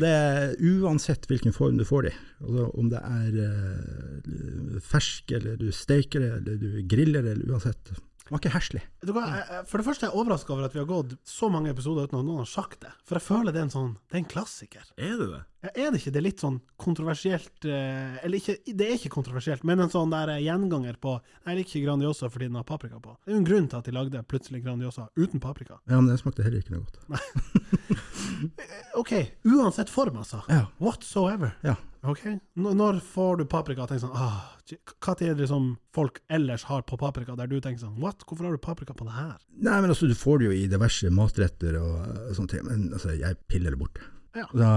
Speaker 4: Det er Uansett hvilken form du får det i, altså, om det er eh, fersk, eller du steker det, eller du griller det, eller uansett. Det var ikke herselig.
Speaker 1: Vet du hva, jeg- jeg- For det første er jeg overraska over at vi har gått så mange episoder uten at noen har sagt det. For jeg føler det er en sånn Det er en klassiker.
Speaker 2: Er det det?
Speaker 1: Ja, Er det ikke det litt sånn kontroversielt eh, Eller ikke, det er ikke kontroversielt, men en sånn der eh, gjenganger på Jeg liker ikke Grandiosa fordi den har paprika på. Det er jo en grunn til at de lagde plutselig Grandiosa uten paprika.
Speaker 4: Ja, men den smakte heller ikke noe godt.
Speaker 1: OK, uansett form, altså.
Speaker 4: Ja.
Speaker 1: Whatsoever.
Speaker 4: Ja.
Speaker 1: Ok, N Når får du paprika og tenker sånn ah, shit, Hva tid er det som folk ellers har på paprika, der du tenker sånn What? Hvorfor har du paprika på det her?
Speaker 4: Nei, men altså, du får det jo i diverse matretter og eh, sånne ting, men altså, jeg piller det bort.
Speaker 1: Ja.
Speaker 4: Da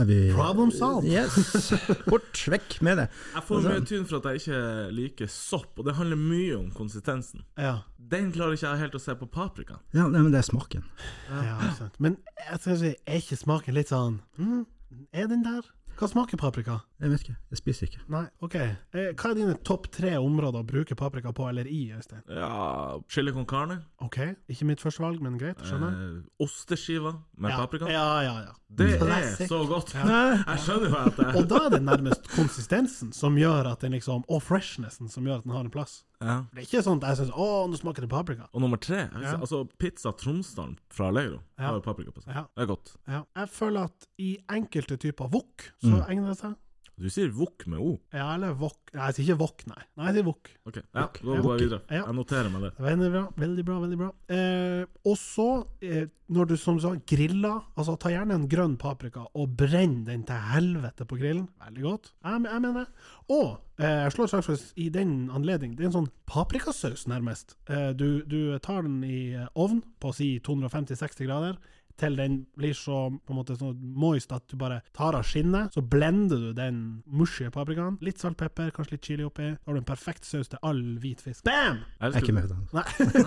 Speaker 4: er vi
Speaker 1: Problem solved.
Speaker 4: Yes. Bort, vekk med det.
Speaker 2: Jeg får
Speaker 1: Altså-
Speaker 2: mye tynn for at jeg ikke liker sopp, og det handler mye om konsistensen.
Speaker 1: Ja.
Speaker 2: Den klarer ikke jeg helt å se på paprika.
Speaker 4: Ja, nei, men det er smaken.
Speaker 1: Ja, ikke sant. Men jeg skal si, er ikke smaken litt sånn mm, Er den der? Hva smaker paprika?
Speaker 4: Jeg vet ikke, jeg spiser ikke.
Speaker 1: Nei, OK. Eh, hva er dine topp tre områder å bruke paprika på eller i, Øystein?
Speaker 2: Ja, Chili con carne.
Speaker 1: OK, ikke mitt første valg, men greit, skjønner.
Speaker 2: Eh, osteskiver med
Speaker 1: Ja.
Speaker 2: Eh, paprika.
Speaker 1: Ja, ja, ja.
Speaker 2: Det
Speaker 1: Classic.
Speaker 2: er så godt! <laughs> Jeg skjønner jo at
Speaker 1: Og
Speaker 2: det
Speaker 1: da er det nærmest konsistensen som gjør at den liksom Og freshnessen som gjør at den har en plass.
Speaker 2: ja.
Speaker 1: Det er ikke sånn at jeg syns Å, nå smaker det paprika.
Speaker 2: Og nummer tre, jeg vil si,
Speaker 1: Ja.
Speaker 2: altså pizza Tromsdalen fra Allegro
Speaker 1: Ja.
Speaker 2: har jo paprika på seg.
Speaker 1: Ja.
Speaker 2: Det er godt.
Speaker 1: Ja. Jeg føler at i enkelte typer wok, så egner det seg.
Speaker 2: Du sier wok med o.
Speaker 1: Ja, eller wok Nei, jeg sier ikke wok, nei. Nei, jeg sier wok.
Speaker 2: Ok, ja, da
Speaker 1: Ja.
Speaker 2: går jeg videre.
Speaker 1: Ja.
Speaker 2: Jeg noterer meg det.
Speaker 1: Veldig bra, veldig bra. veldig bra. Eh, og så, eh, når du som du sa, griller Altså, ta gjerne en grønn paprika og brenn den til helvete på grillen. Veldig godt. Jeg, jeg mener det. Og eh, jeg slår et slag for i den anledning, det er en sånn paprikasaus, nærmest. Eh, du, du tar den i eh, ovn på si 250-60 grader. til den blir så på en måte sånn moist at du bare tar av skinnet, så blender du den mushy paprikaen. Litt salt, pepper, kanskje litt chili oppi. Da har du en perfekt saus til all hvit fisk. Bam!
Speaker 2: Jeg,
Speaker 4: Jeg er
Speaker 2: skulle, jeg,
Speaker 4: ikke med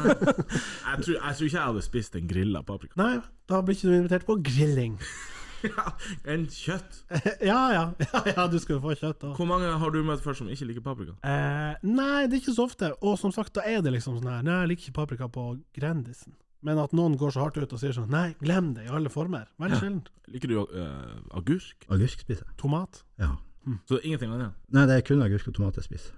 Speaker 4: da.
Speaker 2: tror, jeg tror ikke jeg hadde spist en grilla paprika.
Speaker 1: Nei, da blir ikke du invitert på grilling. <laughs>
Speaker 2: En kjøtt!
Speaker 1: ja, ja, <laughs> ja, ja, du skal jo få kjøtt da.
Speaker 2: Hvor mange har du møtt før som ikke liker paprika?
Speaker 1: Eh, nei, det er ikke så ofte. Og som sagt, da er det liksom sånn her Nei, jeg liker ikke paprika på Grandisen. Men at noen går så hardt ut og sier sånn Nei, glem det i alle former. Veldig sjeldent.
Speaker 2: Liker du eh, agurk?
Speaker 4: Agurk spiser jeg.
Speaker 1: Tomat.
Speaker 4: Ja.
Speaker 2: Så ingenting annet?
Speaker 4: Nei, det er kun agurk og tomat jeg spiser.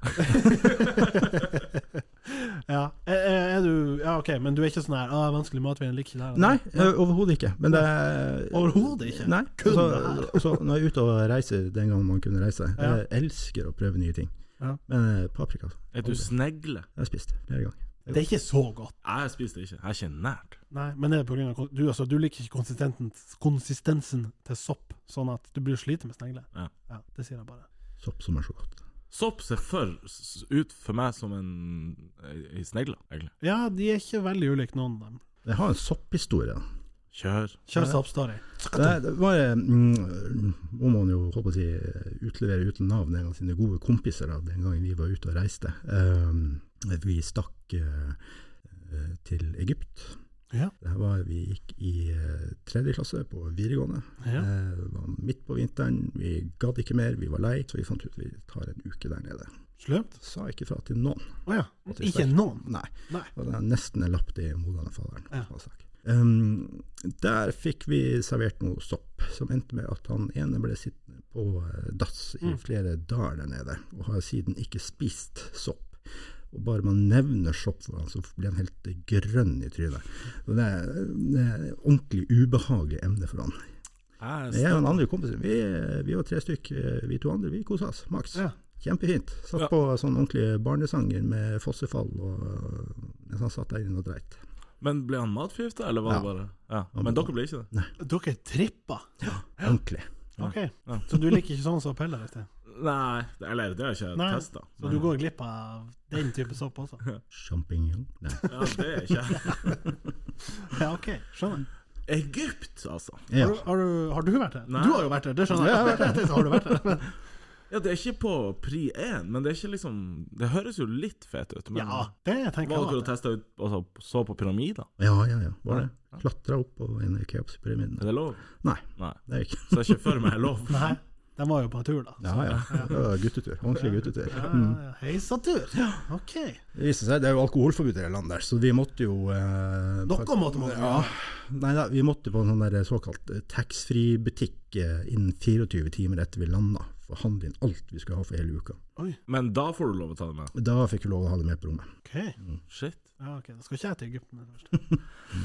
Speaker 1: Ja. Er, er er du Ja, OK, men du er ikke sånn her ah, 'Vanskelig matvin, jeg liker ikke det her og
Speaker 4: Nei,
Speaker 1: det».
Speaker 4: ø, overhodet ikke. Men det er
Speaker 1: Overhodet ikke?
Speaker 4: Nei.
Speaker 1: Kun
Speaker 4: Så,
Speaker 1: det
Speaker 4: så når jeg er ute og reiser den gangen man kunne reise,
Speaker 1: Ja.
Speaker 4: jeg elsker å prøve nye ting.
Speaker 1: Ja.
Speaker 4: Men eh, paprika, altså.
Speaker 2: Er du snegle?
Speaker 4: Jeg har spist det flere ganger.
Speaker 1: Det er ikke så godt.
Speaker 2: Jeg spiser det ikke. Jeg er ikke nært.
Speaker 1: Nei, men det er på grunn av kon- du, altså, du liker ikke konsistensen, konsistensen til sopp, sånn at du blir sliten med snegler.
Speaker 2: Ja.
Speaker 1: Ja, det sier jeg bare.
Speaker 4: Sopp som er så godt.
Speaker 2: Sopp ser for s- ut for meg som en, ei- ei snegle, egentlig.
Speaker 1: Ja, de er ikke veldig ulike, noen av dem.
Speaker 4: Jeg har en sopphistorie. da.
Speaker 2: Kjør.
Speaker 1: Kjør soppstory.
Speaker 4: Det, det var, eh, mm, må man jo håper å si, eh, utlevere uten navn en av sine gode kompiser da, den gangen vi var ute og reiste. Um, vi stakk eh, eh, til Egypt.
Speaker 1: Ja.
Speaker 4: Det her var, vi gikk i eh, tredje klasse på videregående.
Speaker 1: Ja.
Speaker 4: Eh, det var midt på vinteren, vi gadd ikke mer, vi var lei, så vi fant ut vi tar en uke der nede.
Speaker 1: Slumt?
Speaker 4: Sa ikke fra til noen.
Speaker 1: Å ja. Ikke noen.
Speaker 4: sånn. Nei.
Speaker 1: Nei.
Speaker 4: Og det er nesten en lapp til moderne faderen.
Speaker 1: Ja.
Speaker 4: og sak. Um, der fikk vi servert noe sopp, som endte med at han ene ble sittende på eh, dass i
Speaker 1: Mm.
Speaker 4: flere dager der nede, og har siden ikke spist sopp. Og bare man nevner sopp for han, så blir han helt grønn i trynet. Og det er, det er et ordentlig ubehagelig emne for han.
Speaker 2: Jeg er
Speaker 4: Jeg og den andre kompisen, vi, vi var tre stykk, eh, vi to andre, vi kosa oss, maks.
Speaker 1: Ja.
Speaker 4: Kjempefint. Satt
Speaker 2: Ja.
Speaker 4: på sånn ordentlig barnesanger med fossefall, og eh, mens han satt der inne og dreit.
Speaker 2: Men ble han matforgifta, eller var det
Speaker 4: Ja.
Speaker 2: bare ja. Men dere ble ikke det?
Speaker 1: Dere trippa.
Speaker 4: Ordentlig.
Speaker 1: OK.
Speaker 2: Ja.
Speaker 1: Så du liker ikke sånn sopp heller? vet du.
Speaker 2: Nei, det- eller det har jeg ikke
Speaker 1: Nei.
Speaker 2: testa.
Speaker 1: Så du går glipp av den type sopp også?
Speaker 4: Champignon? Nei.
Speaker 2: Ja, det er
Speaker 1: <laughs>
Speaker 2: ikke jeg.
Speaker 1: Ja, OK. Skjønner.
Speaker 2: Egypt, altså.
Speaker 4: Ja.
Speaker 1: <laughs> Har, du, har, du, har du vært der?
Speaker 2: Nei.
Speaker 1: Du har jo vært der, det skjønner jeg. jeg. har vært der. har du vært der? Men,
Speaker 2: Ja, det er ikke på pri 1, men det er ikke liksom Det høres jo litt fett ut, men
Speaker 1: ja, det tenker jeg.
Speaker 2: var dere og
Speaker 1: at det-
Speaker 2: testa ut altså, så på pyramider?
Speaker 4: ja, ja, ja. Var det? Klatra opp på en av Keopspyramiden?
Speaker 2: Er det lov?
Speaker 4: Nei,
Speaker 2: Nei.
Speaker 4: det er ikke
Speaker 2: Så jeg ser ikke for meg er lov.
Speaker 1: Nei, de var jo på tur, da.
Speaker 4: Ja, ja. Det var guttetur. Ordentlig guttetur.
Speaker 1: Ja,
Speaker 4: Mm.
Speaker 1: ja, ja. Heisatur! OK.
Speaker 4: Det viste seg, det er jo alkoholforbud i det landet der, så vi måtte jo eh, på-
Speaker 1: Noe måtte man
Speaker 4: Ja. Nei da, vi måtte på en sånn der såkalt eh, taxfree-butikk eh, innen 24 timer etter vi landa, for å handle inn alt vi skulle ha for hele uka.
Speaker 2: Men da får du lov å ta det med.
Speaker 4: Da fikk vi lov å ha det med på rommet.
Speaker 1: OK.
Speaker 2: Shit.
Speaker 1: Ja, ok, Da skal ikke jeg til Egypten men først.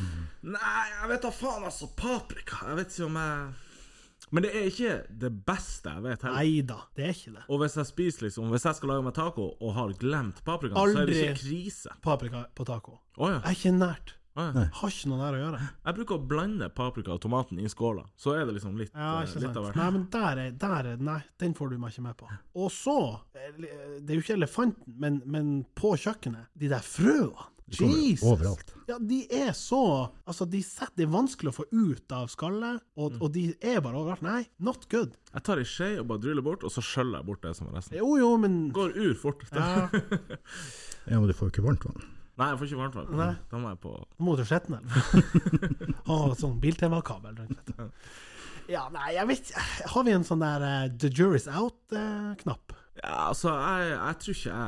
Speaker 2: Nei, jeg vet da faen, altså. Paprika. Jeg vet ikke om jeg Men det er ikke det beste jeg vet heller.
Speaker 1: Nei da, det er ikke det.
Speaker 2: Og hvis jeg spiser liksom Hvis jeg skal lage meg taco og har glemt paprikaen, så er det
Speaker 1: Aldri.
Speaker 2: ikke krise.
Speaker 1: Paprika på taco.
Speaker 2: Å ja.
Speaker 1: Jeg er ikke nært.
Speaker 2: Å, ja.
Speaker 1: Har ikke noe der å gjøre.
Speaker 2: Jeg bruker å blande paprika og tomaten i skåla. Så er det liksom litt,
Speaker 1: Ja,
Speaker 2: eh,
Speaker 1: ikke
Speaker 2: litt av
Speaker 1: sant.
Speaker 2: hvert.
Speaker 1: Nei, men der er, der er Nei, den får du meg ikke med på. Og så eh, Det er jo ikke elefanten, men, men på kjøkkenet. De der frøene.
Speaker 4: kommer jo
Speaker 1: Jesus!
Speaker 4: overalt.
Speaker 1: Ja, de er så Altså, de setter, det er vanskelig å få ut av skallet, og,
Speaker 2: Mm.
Speaker 1: og de er bare overalt. Nei, not good.
Speaker 2: Jeg tar ei skje og bare dryller bort, og så skjøller jeg bort det som er resten.
Speaker 1: Jo, jo, men
Speaker 2: Går ur fort. <laughs>
Speaker 1: ja,
Speaker 4: Ja, men du får jo ikke varmt vann.
Speaker 2: Nei, jeg får ikke varmt vann.
Speaker 1: Nei.
Speaker 2: Da må jeg på
Speaker 1: Da må du skjetne,
Speaker 2: <laughs>
Speaker 1: eller? Ha sånn Biltema-kabel, rett og slett. Ja, nei, jeg vet ikke Har vi en sånn der eh, The jury's eh, out-knapp?
Speaker 2: Ja, altså, jeg, jeg tror ikke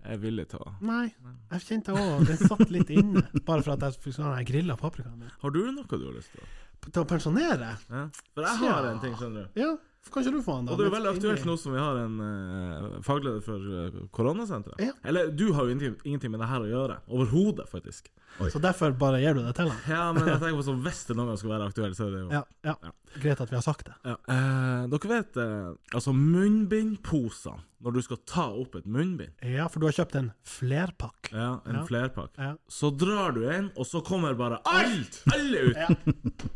Speaker 2: jeg er villig til å
Speaker 1: nei. Jeg kjente òg Den satt litt inne, bare for at jeg fikk sånn grilla paprikaen min.
Speaker 2: Har du noe du har lyst til? å-
Speaker 1: P- Til å pensjonere?
Speaker 2: Ja? For jeg har en ting, skjønner du.
Speaker 1: Ja, kan ikke du få den, da?
Speaker 2: Og det er jo
Speaker 1: Litt
Speaker 2: veldig aktuelt
Speaker 1: inni-
Speaker 2: nå som vi har en eh, fagleder for eh, koronasenteret.
Speaker 1: Ja.
Speaker 2: Eller du har jo ingenting, ingenting med det her å gjøre. Overhodet, faktisk.
Speaker 1: Så derfor bare gir du det til han?
Speaker 2: Ja, men jeg tenker på så hvis det noen gang skulle være aktuelt, så er det jo
Speaker 1: Ja, ja. Greit at vi har sagt det.
Speaker 2: Ja. Eh, dere vet eh, altså munnbindposene, når du skal ta opp et munnbind.
Speaker 1: Ja, for du har kjøpt en flerpakk.
Speaker 2: Ja, En
Speaker 1: Ja.
Speaker 2: flerpakk.
Speaker 1: Ja.
Speaker 2: Så drar du en, og så kommer bare alt! Alle ut!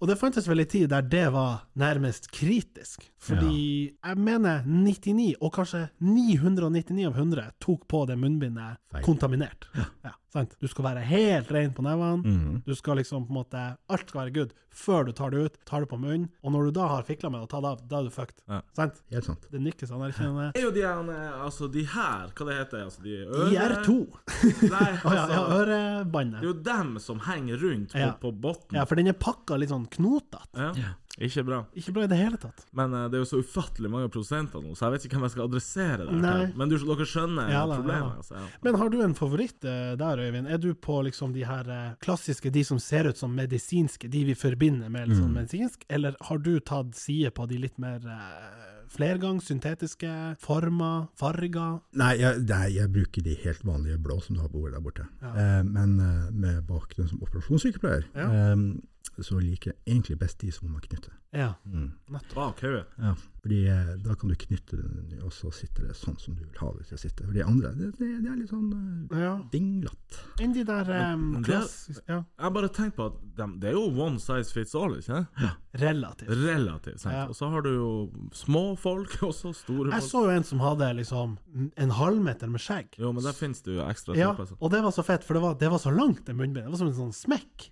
Speaker 1: Og det fantes vel en tid der det var nærmest kritisk. Fordi jeg mener 99, og kanskje 999 av 100, tok på det munnbindet
Speaker 4: Feil.
Speaker 1: kontaminert. Ja. Sant? Du skal være helt rein på nevene. Du skal liksom på en måte Alt skal være good før du tar det ut, tar det på munnen, og når du da har fikla med det og tatt det av, da er du fucked.
Speaker 2: Ja.
Speaker 1: Sant?
Speaker 4: Helt sant.
Speaker 1: Det nikkes anerkjennende.
Speaker 2: er jo de her, altså de her, hva det heter altså de øre-
Speaker 1: IR2.
Speaker 2: Nei,
Speaker 1: Å <laughs> ja, ja,
Speaker 2: altså, det er
Speaker 1: ørebåndet.
Speaker 2: jo dem som henger rundt på,
Speaker 1: Ja.
Speaker 2: på botten.
Speaker 1: Ja, for den er pakka litt sånn knotete.
Speaker 2: Ja. Ikke bra.
Speaker 1: Ikke bra i det hele tatt.
Speaker 2: Men eh, det er jo så ufattelig mange produsenter nå, så jeg vet ikke hvem jeg skal adressere det. her
Speaker 1: Nei.
Speaker 2: til. Men du, dere skjønner
Speaker 1: Ja da,
Speaker 2: problemet.
Speaker 1: ja da.
Speaker 2: Altså, ja.
Speaker 1: Men har du en favoritt eh, der, Øyvind? Er du på liksom de her eh, klassiske, de som ser ut som medisinske, de vi forbinder med
Speaker 2: Mm.
Speaker 1: litt sånn medisinsk, eller har du tatt side på de litt mer eh, flergang, syntetiske, former, farger?
Speaker 4: Nei jeg, nei, jeg bruker de helt vanlige blå som du har på bordet der borte. Eh, men eh, med bakgrunn som operasjonssykepleier, eh, så liker jeg egentlig best de som man knytter.
Speaker 1: Ja.
Speaker 4: Mm.
Speaker 2: Bak hodet.
Speaker 4: Ja, fordi eh, da kan du knytte den, og så sitter det sånn som du vil ha det til å sitte. For de andre, det, det, det er litt sånn eh,
Speaker 1: ja.
Speaker 4: dinglatt.
Speaker 1: Enn de der um,
Speaker 2: men det er-
Speaker 1: klassiske ja.
Speaker 2: Jeg har bare tenkt på at dem- det er jo one size fits all, ikke sant?
Speaker 1: Relativt.
Speaker 2: Relativt. sant?
Speaker 1: Ja.
Speaker 2: Og så har du jo små folk, <laughs> og så store
Speaker 1: Jeg
Speaker 2: folk.
Speaker 1: så jo en som hadde liksom en halvmeter med skjegg.
Speaker 2: Jo, men der finnes det jo ekstra
Speaker 1: Ja,
Speaker 2: typer. så.
Speaker 1: og det var så fett, for det var, det var så langt, det munnbindet. Det var som en sånn smekk.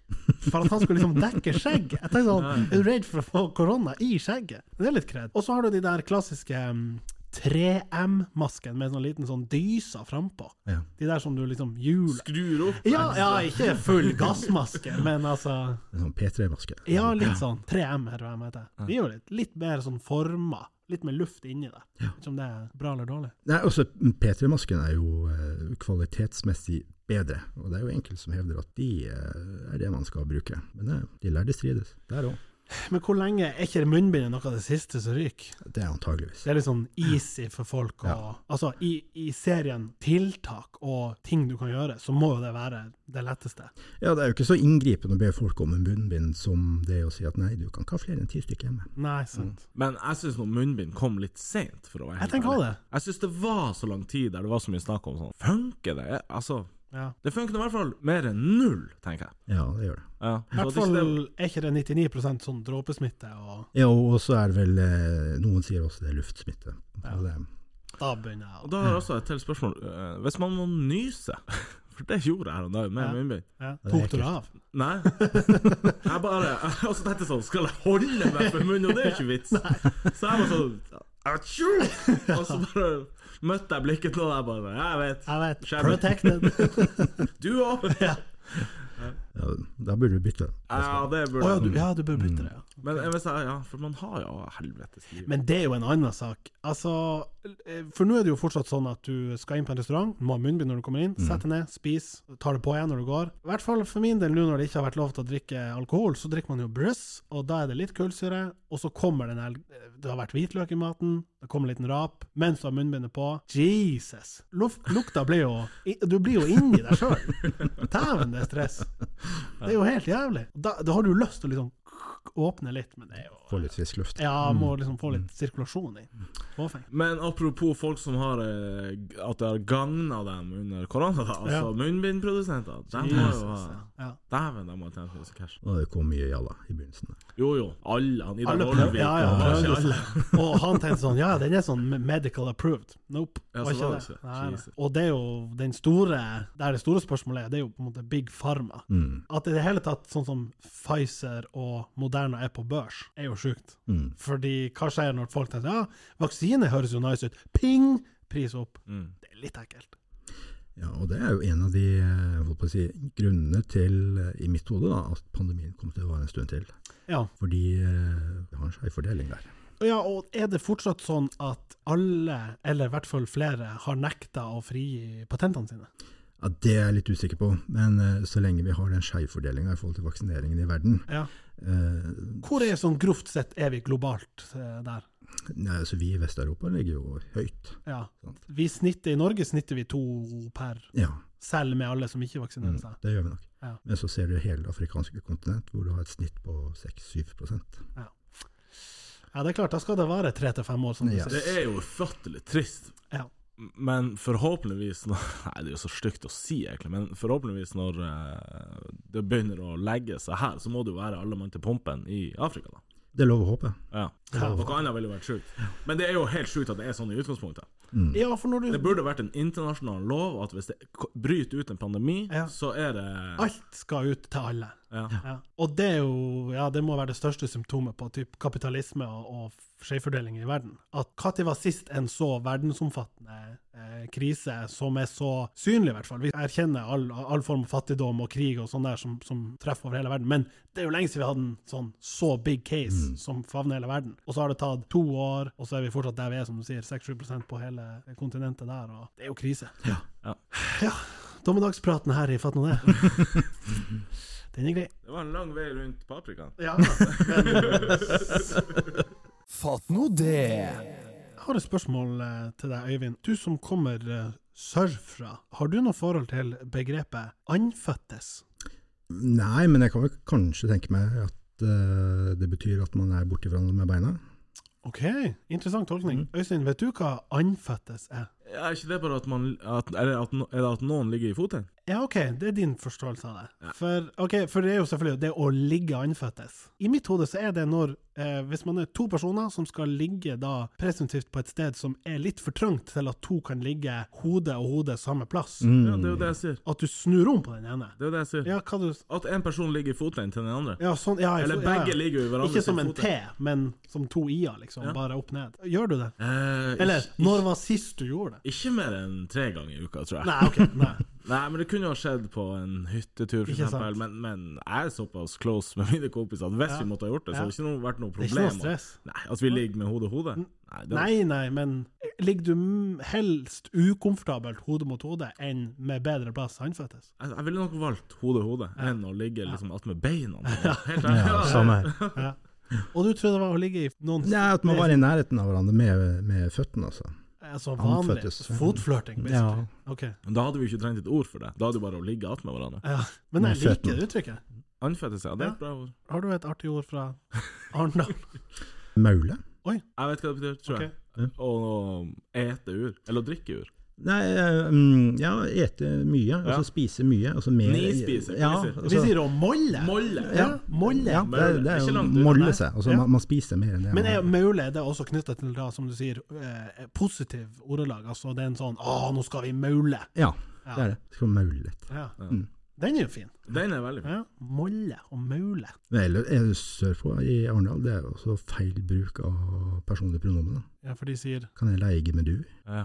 Speaker 1: For at han skulle liksom dekke skjegg. Jeg tenkte sånn, Er du redd for å få korona i skjegget? Det er litt kred. Og så har du de der klassiske mm, 3M-masken med en sånn liten sånn dysa frampå.
Speaker 4: Ja.
Speaker 1: De der som du liksom hjuler
Speaker 2: Skrur opp.
Speaker 1: ja, ja, ikke full gassmaske, men altså
Speaker 4: En sånn P3-maske.
Speaker 1: Ja, litt sånn 3M, eller hva de heter. De er jo litt, litt mer sånn forma. Litt mer luft inni det. Vet ikke om det er bra eller dårlig.
Speaker 4: Nei, også mm, P3-masken er jo eh, kvalitetsmessig bedre, og det er jo enkelte som hevder at de eh, er det man skal bruke. Men eh, de lærde strides, der òg.
Speaker 1: Men hvor lenge er ikke munnbindet noe av det siste som ryker?
Speaker 4: Det er antageligvis.
Speaker 1: Det er litt sånn easy for folk å Altså, i, i serien tiltak og ting du kan gjøre, så må jo det være det letteste.
Speaker 4: Ja, det er jo ikke så inngripende å be folk om en munnbind som det å si at nei, du kan ikke ha flere enn ti stykker hjemme.
Speaker 1: Nei, sant.
Speaker 2: Men jeg syns munnbind kom litt seint, for å være
Speaker 1: Jeg
Speaker 2: helt
Speaker 1: tenker også
Speaker 2: ærlig.
Speaker 1: det.
Speaker 2: Jeg syns det var så lang tid der det var så mye snakk om sånn Funker det? Altså,
Speaker 1: Ja.
Speaker 2: det funker i hvert fall mer enn null, tenker jeg.
Speaker 4: Ja, det gjør det.
Speaker 2: Ja,
Speaker 1: I
Speaker 2: så
Speaker 1: hvert
Speaker 2: at ikke
Speaker 1: fall
Speaker 2: det-
Speaker 1: er ikke det 99 sånn dråpesmitte og
Speaker 4: Ja, og så er det vel eh, Noen sier også det er luftsmitte. Og det,
Speaker 1: Da begynner jeg
Speaker 2: Og
Speaker 1: å
Speaker 2: da har jeg også et til spørsmål. Eh, Hvis man må nyse <laughs> For det gjorde jeg her om dagen med
Speaker 1: Ja.
Speaker 2: munnbind.
Speaker 1: ja.
Speaker 4: er
Speaker 1: Tok du det
Speaker 4: ekkelt.
Speaker 1: av?
Speaker 2: Nei. Jeg bare Og så tenkte jeg sånn Skal jeg holde meg for munnen? Og det er jo ikke vits. Så jeg var sånn Atsjo! Og så bare møtte jeg blikket til noen, og jeg bare Jeg vet.
Speaker 1: Jeg vet.
Speaker 2: Skjermen.
Speaker 1: Protected.
Speaker 2: Du òg.
Speaker 4: ja, da burde du bytte.
Speaker 2: Ja, det
Speaker 1: Å
Speaker 2: burde
Speaker 1: ja,
Speaker 2: jeg.
Speaker 1: du, ja, du bør bytte det. Ja.
Speaker 2: Men jeg vil si, ja, for man har jo helvetes liv.
Speaker 1: Men det er jo en annen sak. Altså, eh, for nå er det jo fortsatt sånn at du skal inn på en restaurant, må ha munnbind når du kommer inn, sett deg ned, spis, tar det på igjen når du går. I hvert fall for min del nå når det ikke har vært lov til å drikke alkohol, så drikker man jo brus, og da er det litt kullsyre, og så kommer den her Det har vært hvitløk i maten, det kommer en liten rap, mens du har munnbindet på. Jesus! Luf- Lukta blir jo i- Du blir jo inni deg sjøl. Dæven, det er stress. Det er jo helt jævlig. Da, da har du lyst til å liksom åpne litt, men det er jo
Speaker 4: Få litt frisk luft.
Speaker 1: ja, må liksom få litt sirkulasjon i påfengen.
Speaker 2: Men apropos folk som har eh, g- At det har gagna dem under korona, da. Altså
Speaker 1: Ja.
Speaker 2: munnbindprodusenter. De må jo eh, ha
Speaker 1: Jesus, ja.
Speaker 2: Dæven, de har tjent masse cash.
Speaker 4: Og det kom mye jalla i begynnelsen. der.
Speaker 2: Jo jo, alle. Han Ida
Speaker 1: Alle prøvde,
Speaker 2: Vollvik
Speaker 1: ja, ja,
Speaker 2: og
Speaker 1: prøvde
Speaker 2: Lars-
Speaker 1: seg. Og han tenkte sånn Ja, den er sånn medical approved. Nope.
Speaker 2: Ja,
Speaker 1: var
Speaker 2: så var
Speaker 1: ikke
Speaker 2: det
Speaker 1: det.
Speaker 2: ikke.
Speaker 1: Nei, nei.
Speaker 2: Jesus.
Speaker 1: Og det er jo den store Der det store spørsmålet er, det er jo på en måte Big Pharma.
Speaker 4: Mm,
Speaker 1: At i det hele tatt sånn som Pfizer og Moderna er på børs, er jo sjukt.
Speaker 4: mm.
Speaker 1: Fordi hva skjer når folk tenker Ja, vaksine høres jo nice ut. Ping! Pris opp.
Speaker 2: Mm.
Speaker 1: Det er litt ekkelt.
Speaker 4: Ja, og det er jo en av de eh, holdt på å si, grunnene til, eh, i mitt hode, da, at pandemien kom til å vare en stund til.
Speaker 1: Ja.
Speaker 4: Fordi eh, det har en skjev fordeling der.
Speaker 1: Ja, og er det fortsatt sånn at alle, eller i hvert fall flere, har nekta å frigi patentene sine?
Speaker 4: Ja, Det er jeg litt usikker på, men eh, så lenge vi har den skjevfordelinga i forhold til vaksineringen i verden
Speaker 1: Ja.
Speaker 4: eh,
Speaker 1: Hvor er sånn grovt sett er vi globalt eh, der?
Speaker 4: nei, altså Vi i Vest-Europa ligger jo høyt.
Speaker 1: Ja. Vi snitter, I Norge snitter vi to per,
Speaker 4: Ja,
Speaker 1: selv med alle som ikke vaksinerer seg.
Speaker 4: det gjør vi nok.
Speaker 1: Ja.
Speaker 4: Men så ser du hele det afrikanske kontinent, hvor du har et snitt på 6-7
Speaker 1: Ja, det er klart, da skal det være tre til fem år, som du
Speaker 4: Ja.
Speaker 1: sier.
Speaker 2: Det er jo ufattelig trist.
Speaker 1: Ja.
Speaker 2: Men forhåpentligvis når, <laughs> Nei, det er jo så stygt å si, egentlig, men forhåpentligvis når eh, det begynner å legge seg her, så må det jo være alle mann til pumpen i Afrika, da.
Speaker 4: Det er lov å håpe.
Speaker 2: Ja. Noe annet ville jo vært sjukt. Men det er jo helt sjukt at det er sånn i utgangspunktet.
Speaker 1: Ja, for når
Speaker 2: Det
Speaker 1: du
Speaker 2: burde vært en internasjonal lov at hvis det k- bryter ut en pandemi,
Speaker 1: Ja.
Speaker 2: så er det
Speaker 1: Alt skal ut til alle.
Speaker 2: ja.
Speaker 1: Ja. Og det er jo Ja, det må være det største symptomet på typ kapitalisme og, og skjevfordeling i verden. At når var sist en så verdensomfattende eh, krise som er så synlig, i hvert fall? Vi erkjenner all, all form for fattigdom og krig og sånn der som, som treffer over hele verden, men det er jo lenge siden vi hadde en sånn så big case som favner hele verden. Og så har det tatt to år, og så er vi fortsatt der vi er, som du sier, 6-7 på hele kontinentet der, og det er jo krise.
Speaker 4: Ja.
Speaker 2: Ja.
Speaker 1: ja. Dommedagspraten her i Fatt nå det. Den er grei.
Speaker 2: Det var en lang vei rundt paprikaen.
Speaker 1: Ja, men jeg
Speaker 5: <laughs> Fatt nå det!
Speaker 1: har et spørsmål eh, til deg, Øyvind. Du som kommer eh, sørfra, har du noe forhold til begrepet anføttes?
Speaker 4: Nei, men jeg kan vel kanskje tenke meg at eh, det betyr at man er borti hverandre med beina.
Speaker 1: Ok, interessant tolkning. Øystein, vet du hva anføttes er?
Speaker 2: Er ikke det bare at man at, Eller at, no- er det at noen ligger i foten?
Speaker 1: Ja, ok, det er din forståelse av det. For, ok, for det er jo selvfølgelig det å ligge anføttes. I mitt hode så er det når, eh, hvis man er to personer som skal ligge da presumptivt på et sted som er litt for trangt til at to kan ligge hode og hode samme plass,
Speaker 2: Ja, det er jo det jeg sier.
Speaker 1: at du snur om på den ene.
Speaker 2: Det er jo det jeg sier.
Speaker 1: Mm. Ja, hva du...
Speaker 2: At en person ligger i foten til den andre.
Speaker 1: Ja, sånn, ja, jeg-
Speaker 2: Eller
Speaker 1: ja, ja.
Speaker 2: begge ligger jo i hverandres
Speaker 1: Ikke som en
Speaker 2: fot.
Speaker 1: T, men som to i-er, liksom. Bare opp ned. Gjør du det?
Speaker 2: Eh, ikke- <laughs>
Speaker 1: Eller når var sist du gjorde det?
Speaker 2: Ikke mer enn tre ganger i uka, tror jeg.
Speaker 1: Nei, ok. Nei.
Speaker 2: Nei, men det kunne jo ha skjedd på en hyttetur, for
Speaker 1: Ikke sant.
Speaker 2: eksempel. Men, men jeg er såpass close med mine kompiser at hvis vi måtte ha gjort det, så hadde det ikke noe, vært noe
Speaker 1: er ikke
Speaker 2: problem.
Speaker 1: noe stress.
Speaker 2: Nei, At vi ligger med hodet i hodet? Nei, det
Speaker 1: Nei, nei, men ligger du m- helst ukomfortabelt hode mot hode enn med bedre plass håndføttes?
Speaker 2: Jeg, jeg ville nok valgt hodet i hodet enn å ligge liksom attmed
Speaker 1: <laughs>
Speaker 2: beina. Helt ærlig.
Speaker 4: Ja, samme her.
Speaker 1: Og du trodde det var å ligge i noen
Speaker 4: Nei, at man var i nærheten av hverandre med, med føttene, altså.
Speaker 1: altså vanlig
Speaker 4: Håndføttes.
Speaker 1: fotflørting, basically. Ok.
Speaker 2: Men Da hadde vi jo ikke trengt et ord for det. Da hadde det bare å ligge attmed hverandre.
Speaker 1: Ja. Men jeg
Speaker 4: Med
Speaker 1: liker
Speaker 4: føttene.
Speaker 1: det uttrykket.
Speaker 2: Anfette seg, det er et bra ord.
Speaker 1: Har du et artig ord fra
Speaker 4: <laughs>
Speaker 1: Arendal?
Speaker 4: Maule?
Speaker 2: Jeg vet hva det betyr, tror jeg. Å ete ur. Eller å drikke ur.
Speaker 4: Nei, eh, mm, ja, ete mye, og
Speaker 2: Ja.
Speaker 4: så spise mye. Og så mer
Speaker 2: Ni spiser, kan
Speaker 4: ja,
Speaker 2: vi si.
Speaker 4: altså-
Speaker 1: Vi sier å molle.
Speaker 2: Molle.
Speaker 1: Ja, molle.
Speaker 4: Ja, det, er- det
Speaker 2: Ikke
Speaker 4: er jo
Speaker 2: langt unna,
Speaker 4: molle
Speaker 2: nei.
Speaker 4: seg. Altså,
Speaker 1: Ja.
Speaker 4: man, man spiser mer enn det.
Speaker 1: Men er
Speaker 4: man-
Speaker 1: maule det er også knytta til, da, som du sier, eh, positiv ordelag? Altså det er en sånn 'Å, nå skal vi maule'.
Speaker 4: ja, det er det. Skal maule litt.
Speaker 1: Ja. Den er jo fin.
Speaker 2: Den er veldig fin.
Speaker 1: Ja. Molle og maule.
Speaker 4: Men Eller er det sørpå i Arendal, det er jo også feil bruk av personlige pronomen. da.
Speaker 1: Ja, for de sier
Speaker 4: Kan jeg leie med du?
Speaker 1: ja,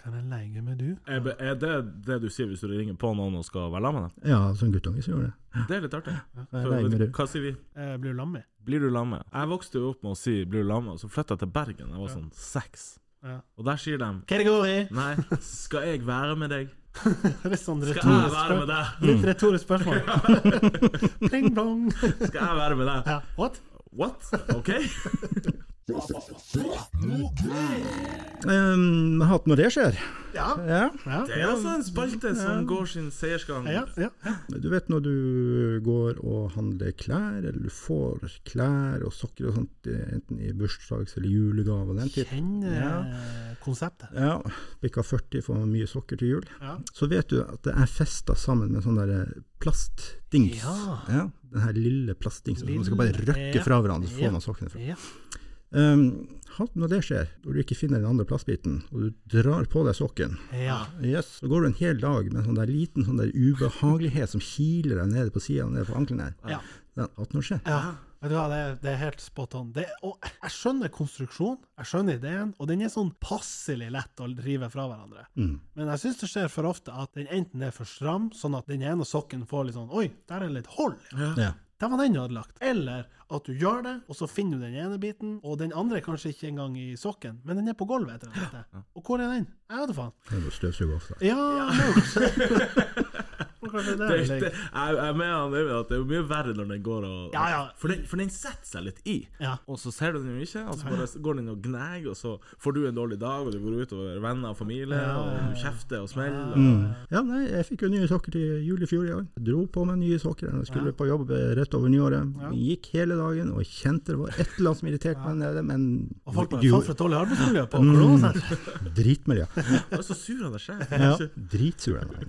Speaker 1: 'Kan jeg leie med du?'
Speaker 2: Er, be- er det det du sier hvis du ringer på noen og skal være sammen med dem?
Speaker 4: Ja, som guttunge så gjør det.
Speaker 2: Det er litt artig.
Speaker 4: Kan jeg
Speaker 2: For,
Speaker 4: leie med du?
Speaker 2: hva sier vi?
Speaker 1: Eh, blir du lam i?
Speaker 2: Blir du lamme? Jeg vokste jo opp med å si 'blir du lamme', og så flytta jeg til Bergen da jeg var sånn seks.
Speaker 1: Ja.
Speaker 2: Og der sier de
Speaker 1: Hva det går <laughs> i?
Speaker 2: 'nei, skal jeg være
Speaker 1: <laughs>
Speaker 2: med deg'?
Speaker 1: Det er sånn
Speaker 2: Skal jeg
Speaker 1: retorisk
Speaker 2: være
Speaker 1: spørsmål.
Speaker 2: med deg?
Speaker 1: Litt retorisk spørsmål. Pling plong. <laughs>
Speaker 2: Skal jeg være med deg?
Speaker 1: Ja, what?
Speaker 2: What?
Speaker 1: <laughs>
Speaker 2: OK?
Speaker 4: Um, Hat når det skjer.
Speaker 1: Ja.
Speaker 4: Ja.
Speaker 1: Ja,
Speaker 2: Det er altså en spalte som går sin seiersgang.
Speaker 1: ja, ja.
Speaker 4: Du vet når du går og handler klær, eller du får klær og sokker og sånt, eh, enten i bursdags- eller julegave og den typen.
Speaker 1: Kjenner eh, konseptet.
Speaker 4: Ja, bikka 40 får mye sokker til jul.
Speaker 1: Ja.
Speaker 4: Så vet du at det er festa sammen med sånn der eh, plastdings.
Speaker 1: Ja.
Speaker 4: Den her lille plastdingsen som man skal
Speaker 1: Lille,
Speaker 4: bare røkke
Speaker 1: ja.
Speaker 4: fra hverandre, så
Speaker 1: Ja.
Speaker 4: får man sokkene fra.
Speaker 1: Ja.
Speaker 4: Um, hat når det skjer, når du ikke finner den andre plastbiten, og du drar på deg sokken,
Speaker 1: ja.
Speaker 4: Yes, så går du en hel dag med en sånn der liten sånn der ubehagelighet som kiler deg nede på sida, nede på ankelen her.
Speaker 1: Ja.
Speaker 4: Det er 18 år siden.
Speaker 1: Ja. Vet du hva, det, er- det er helt spot on. Det, og jeg skjønner konstruksjonen, jeg skjønner ideen, og den er sånn passelig lett å rive fra hverandre. Men jeg syns det skjer for ofte at den enten er for stram, sånn at den ene sokken får litt sånn Oi, der er det litt hold. Ja.
Speaker 4: Ja.
Speaker 1: Der var den ødelagt. Eller at du gjør det, og så finner du den ene biten, og den andre er kanskje ikke engang i sokken, men den er på gulvet etter dette. Og hvor er den? Jeg vet da faen.
Speaker 4: Det er jo støvsuge ofte.
Speaker 1: Ja, det <laughs> er jo kanskje- kanskje det
Speaker 2: Det,
Speaker 1: er
Speaker 2: det,
Speaker 1: det.
Speaker 2: jeg, jeg mener han Øyvind at det er jo mye verre når den går og
Speaker 1: Ja, ja.
Speaker 2: For, den, for den setter seg litt i,
Speaker 1: Ja.
Speaker 2: og så ser du den jo ikke, og så bare går den og gnager, og så får du en dårlig dag, og du går ut over venner og familie, og du kjefter og
Speaker 1: Mm.
Speaker 2: smeller. Og,
Speaker 4: Mm. Ja, nei, jeg fikk jo nye sokker til jul i fjor i år. Dro på meg nye sokker. Jeg skulle på jobb eh, rett over nyåret. Gikk hele dagen og kjente det var et eller annet som irriterte meg nede, men
Speaker 1: Og folk bare
Speaker 4: Jo,
Speaker 1: Faen, for et dårlig arbeidsmiljø på koronasenteret. <laughs>
Speaker 4: Dritmiljø.
Speaker 2: og så sur han deg sjøl.
Speaker 4: Ja, dritsur jeg var.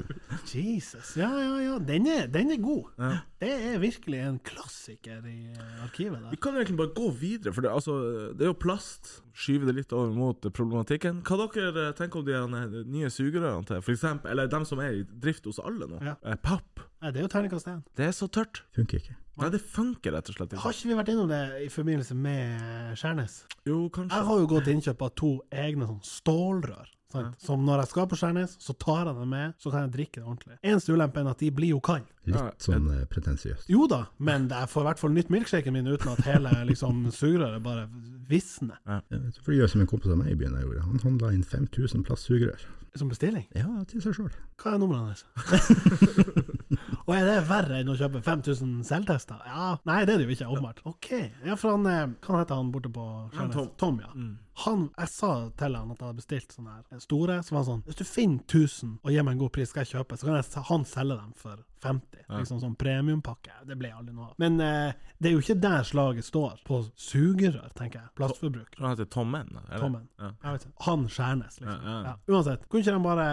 Speaker 1: Jesus. Ja, Ja, ja, ja. Den er, den er god.
Speaker 2: Ja.
Speaker 1: Det er virkelig en klassiker i eh, arkivet
Speaker 2: Vi
Speaker 1: der.
Speaker 2: kan egentlig bare gå videre, for det, altså, det er jo plast. Skyve det litt over mot problematikken. Hva dere eh, tenker om de her nye sugerørene til for eksempel, eller dem som er i drift hos alle nå?
Speaker 1: Ja.
Speaker 2: Eh, Papp.
Speaker 1: Nei, det er jo terningkast én.
Speaker 2: Det er så tørt.
Speaker 4: Funker ikke.
Speaker 2: Nei, det funker rett og slett
Speaker 1: Har
Speaker 2: ikke.
Speaker 1: ikke vi vært innom det i forbindelse med Skjærnes?
Speaker 2: Jo, kanskje.
Speaker 1: Jeg har jo gått til innkjøp av to egne sånn stålrør. Sant? Som når jeg skal på Skjærnes, så tar jeg dem med, så kan jeg drikke det ordentlig. Eneste ulempen er at de blir jo kalde.
Speaker 2: Ja,
Speaker 4: Litt sånn eh, pretensiøst.
Speaker 1: Jo da, men jeg får i hvert fall nytt milkshaken min uten at hele liksom, sugerøret bare visner
Speaker 4: Eh, Så får du gjøre som en kompis av meg i byen jeg gjorde. Han handla inn 5000 plastsugerør.
Speaker 1: som bestilling.
Speaker 4: Ja, til seg sjøl.
Speaker 1: Hva er numrene hans? <laughs> Og er det verre enn å kjøpe 5000 selvtester? Ja, Nei, det er det jo ikke, åpenbart. Ok, ja, for han, eh, Hva heter han borte på Skjærnes?
Speaker 2: Tom.
Speaker 1: Tom, ja. Han, Jeg sa til han at jeg hadde bestilt sånne her store, så var han sånn Hvis du finner 1000 og gir meg en god pris, skal jeg kjøpe, så kan jeg, se- han selge dem for 50. Liksom sånn premiumpakke. Det ble aldri noe av. Men eh, det er jo ikke der slaget står, på sugerør, tenker jeg. Plastforbruk.
Speaker 2: Han heter Tom N. eller?
Speaker 1: Tom N.
Speaker 2: Ja.
Speaker 1: Jeg vet ikke. Han Skjærnes, liksom.
Speaker 2: Ja,
Speaker 1: Ja,
Speaker 2: ja.
Speaker 1: Uansett, kunne ikke de bare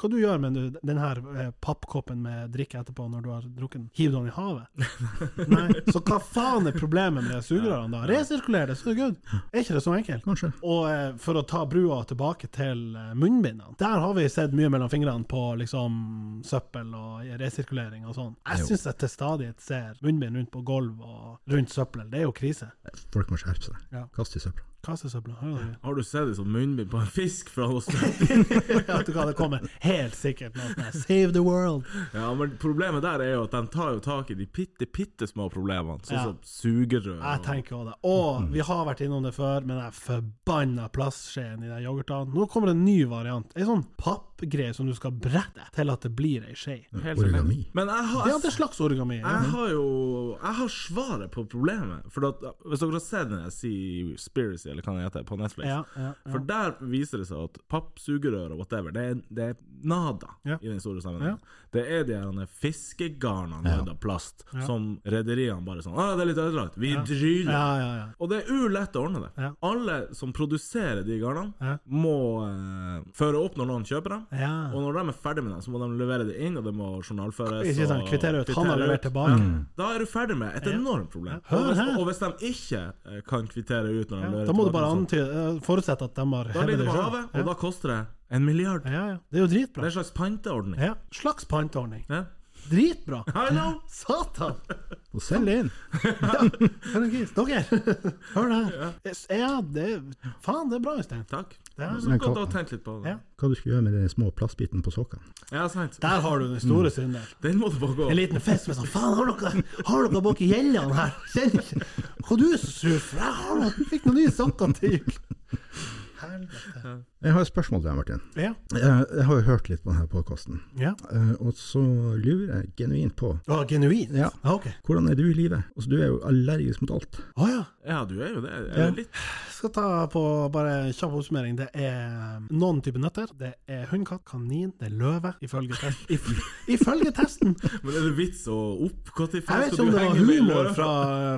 Speaker 1: Hva du gjør med den- den her eh, pappkoppen med drikke etterpå når du har drukket den? Hiver du den i
Speaker 2: <laughs>
Speaker 1: havet? Nei. Så hva faen er problemet med de sugerørene da? Resirkuler det, så er det good. Er ikke det så enkelt?
Speaker 4: Kanskje.
Speaker 1: Og eh, for å ta brua tilbake til eh, munnbindene. Der har vi sett mye mellom fingrene på liksom søppel og resirkulering og sånn. Jeg syns jeg til stadighet ser munnbind rundt på gulv og rundt søppel. Det er jo krise.
Speaker 4: Folk må skjerpe seg.
Speaker 1: Ja.
Speaker 4: Kast i søpla.
Speaker 1: Kassesøpla. Hører du?
Speaker 2: Har du sett det som munnbind på en fisk fra hos
Speaker 1: <laughs> At du kan det kommer helt sikkert noe sånt her, Save the world.
Speaker 2: Ja, men problemet der er jo at de tar jo tak i de bitte, bitte små problemene, sånn
Speaker 1: Ja.
Speaker 2: som sugerør og-
Speaker 1: Jeg tenker også det.
Speaker 2: Mm.
Speaker 1: Og vi har vært innom det før, men jeg forbanna plastskjeen i de yoghurtene. Nå kommer det en ny variant. Ei sånn pappgreie som du skal brette til at det blir ei skje.
Speaker 2: Helt
Speaker 4: Origami.
Speaker 2: enig. Men jeg har,
Speaker 1: Ja, det er slags origami. Ja.
Speaker 2: Mm. Jeg har jo Jeg har svaret på problemet. For at, Hvis dere har sett den der Seaspiracy, eller hva den heter, på Netflix
Speaker 1: Ja, ja, ja.
Speaker 2: For der viser det seg at pappsugerør og whatever, det er, det er nada
Speaker 1: Ja.
Speaker 2: i den store sammenhengen. Det er de her fiskegarnene lagd av plast som rederiene bare sånn Å, det er litt ødelagt. Vi dryler.
Speaker 1: Ja, ja, ja.
Speaker 2: Og det er ulett å ordne det.
Speaker 1: Ja.
Speaker 2: Alle som produserer de garnene,
Speaker 1: Ja.
Speaker 2: må eh, føre opp når noen kjøper dem.
Speaker 1: Ja.
Speaker 2: Og når de er ferdig med dem, så må de levere det inn, og det må journalføres.
Speaker 1: Ikke sant,
Speaker 2: og
Speaker 1: kvittere ut. Han har
Speaker 2: kvittere
Speaker 1: levert
Speaker 2: ut. Mm.
Speaker 1: tilbake.
Speaker 2: Da er du ferdig med et enormt problem.
Speaker 1: Hør
Speaker 2: Og, hvis,
Speaker 1: her.
Speaker 2: og hvis de ikke eh, kan kvittere ut når de leverer
Speaker 1: Da må du
Speaker 2: tilbake,
Speaker 1: bare
Speaker 2: så-
Speaker 1: antyde, eh, forutsette at de har
Speaker 2: Da
Speaker 1: hevet
Speaker 2: blir det på
Speaker 1: selv.
Speaker 2: havet, og da koster det en milliard.
Speaker 1: Ja, ja. Det er jo
Speaker 2: Det er
Speaker 1: dritbra.
Speaker 2: en slags panteordning.
Speaker 1: Ja. Slags panteordning.
Speaker 2: Ja.
Speaker 1: Dritbra.
Speaker 2: I know!
Speaker 1: Satan!
Speaker 4: Og selg inn!
Speaker 1: Ja, for en gris. Dere, <laughs> hør det her. Ja, det Faen, det er bra, Øystein.
Speaker 2: Takk.
Speaker 1: Det er-
Speaker 2: Så godt å ha tenkt litt på det.
Speaker 1: Ja.
Speaker 4: Hva du skulle gjøre med den små plastbiten på sokkene?
Speaker 2: Ja, sant.
Speaker 1: Der har du den store synden.
Speaker 2: Den må du bare gå.
Speaker 1: En liten fest med sånn Faen, har dere, har dere bak i gjellene her? Kjenner ikke Hva du er så sur for? Jeg har noe, jeg fikk noen nye sokker til jul. Helvete.
Speaker 4: Jeg har et spørsmål til deg, Martin.
Speaker 1: Ja.
Speaker 4: Jeg, jeg har jo hørt litt på denne podkasten,
Speaker 1: ja.
Speaker 4: Eh, og så lurer jeg genuint på
Speaker 1: Å, genuint?
Speaker 4: Ja.
Speaker 1: Ah, ok.
Speaker 4: hvordan er du i livet? Altså, du er jo allergisk mot alt.
Speaker 1: Å ja.
Speaker 2: Ja, du er jo det. Er
Speaker 4: Ja.
Speaker 2: det litt?
Speaker 1: Jeg skal ta på bare en kjapp oppsummering. Det er um, noen typer nøtter. Det er hund, katt, kanin, det er løve, ifølge <laughs> testen. If, ifølge testen!
Speaker 2: Men er det vits å opp? Når
Speaker 1: Jeg vet ikke om det var humor fra,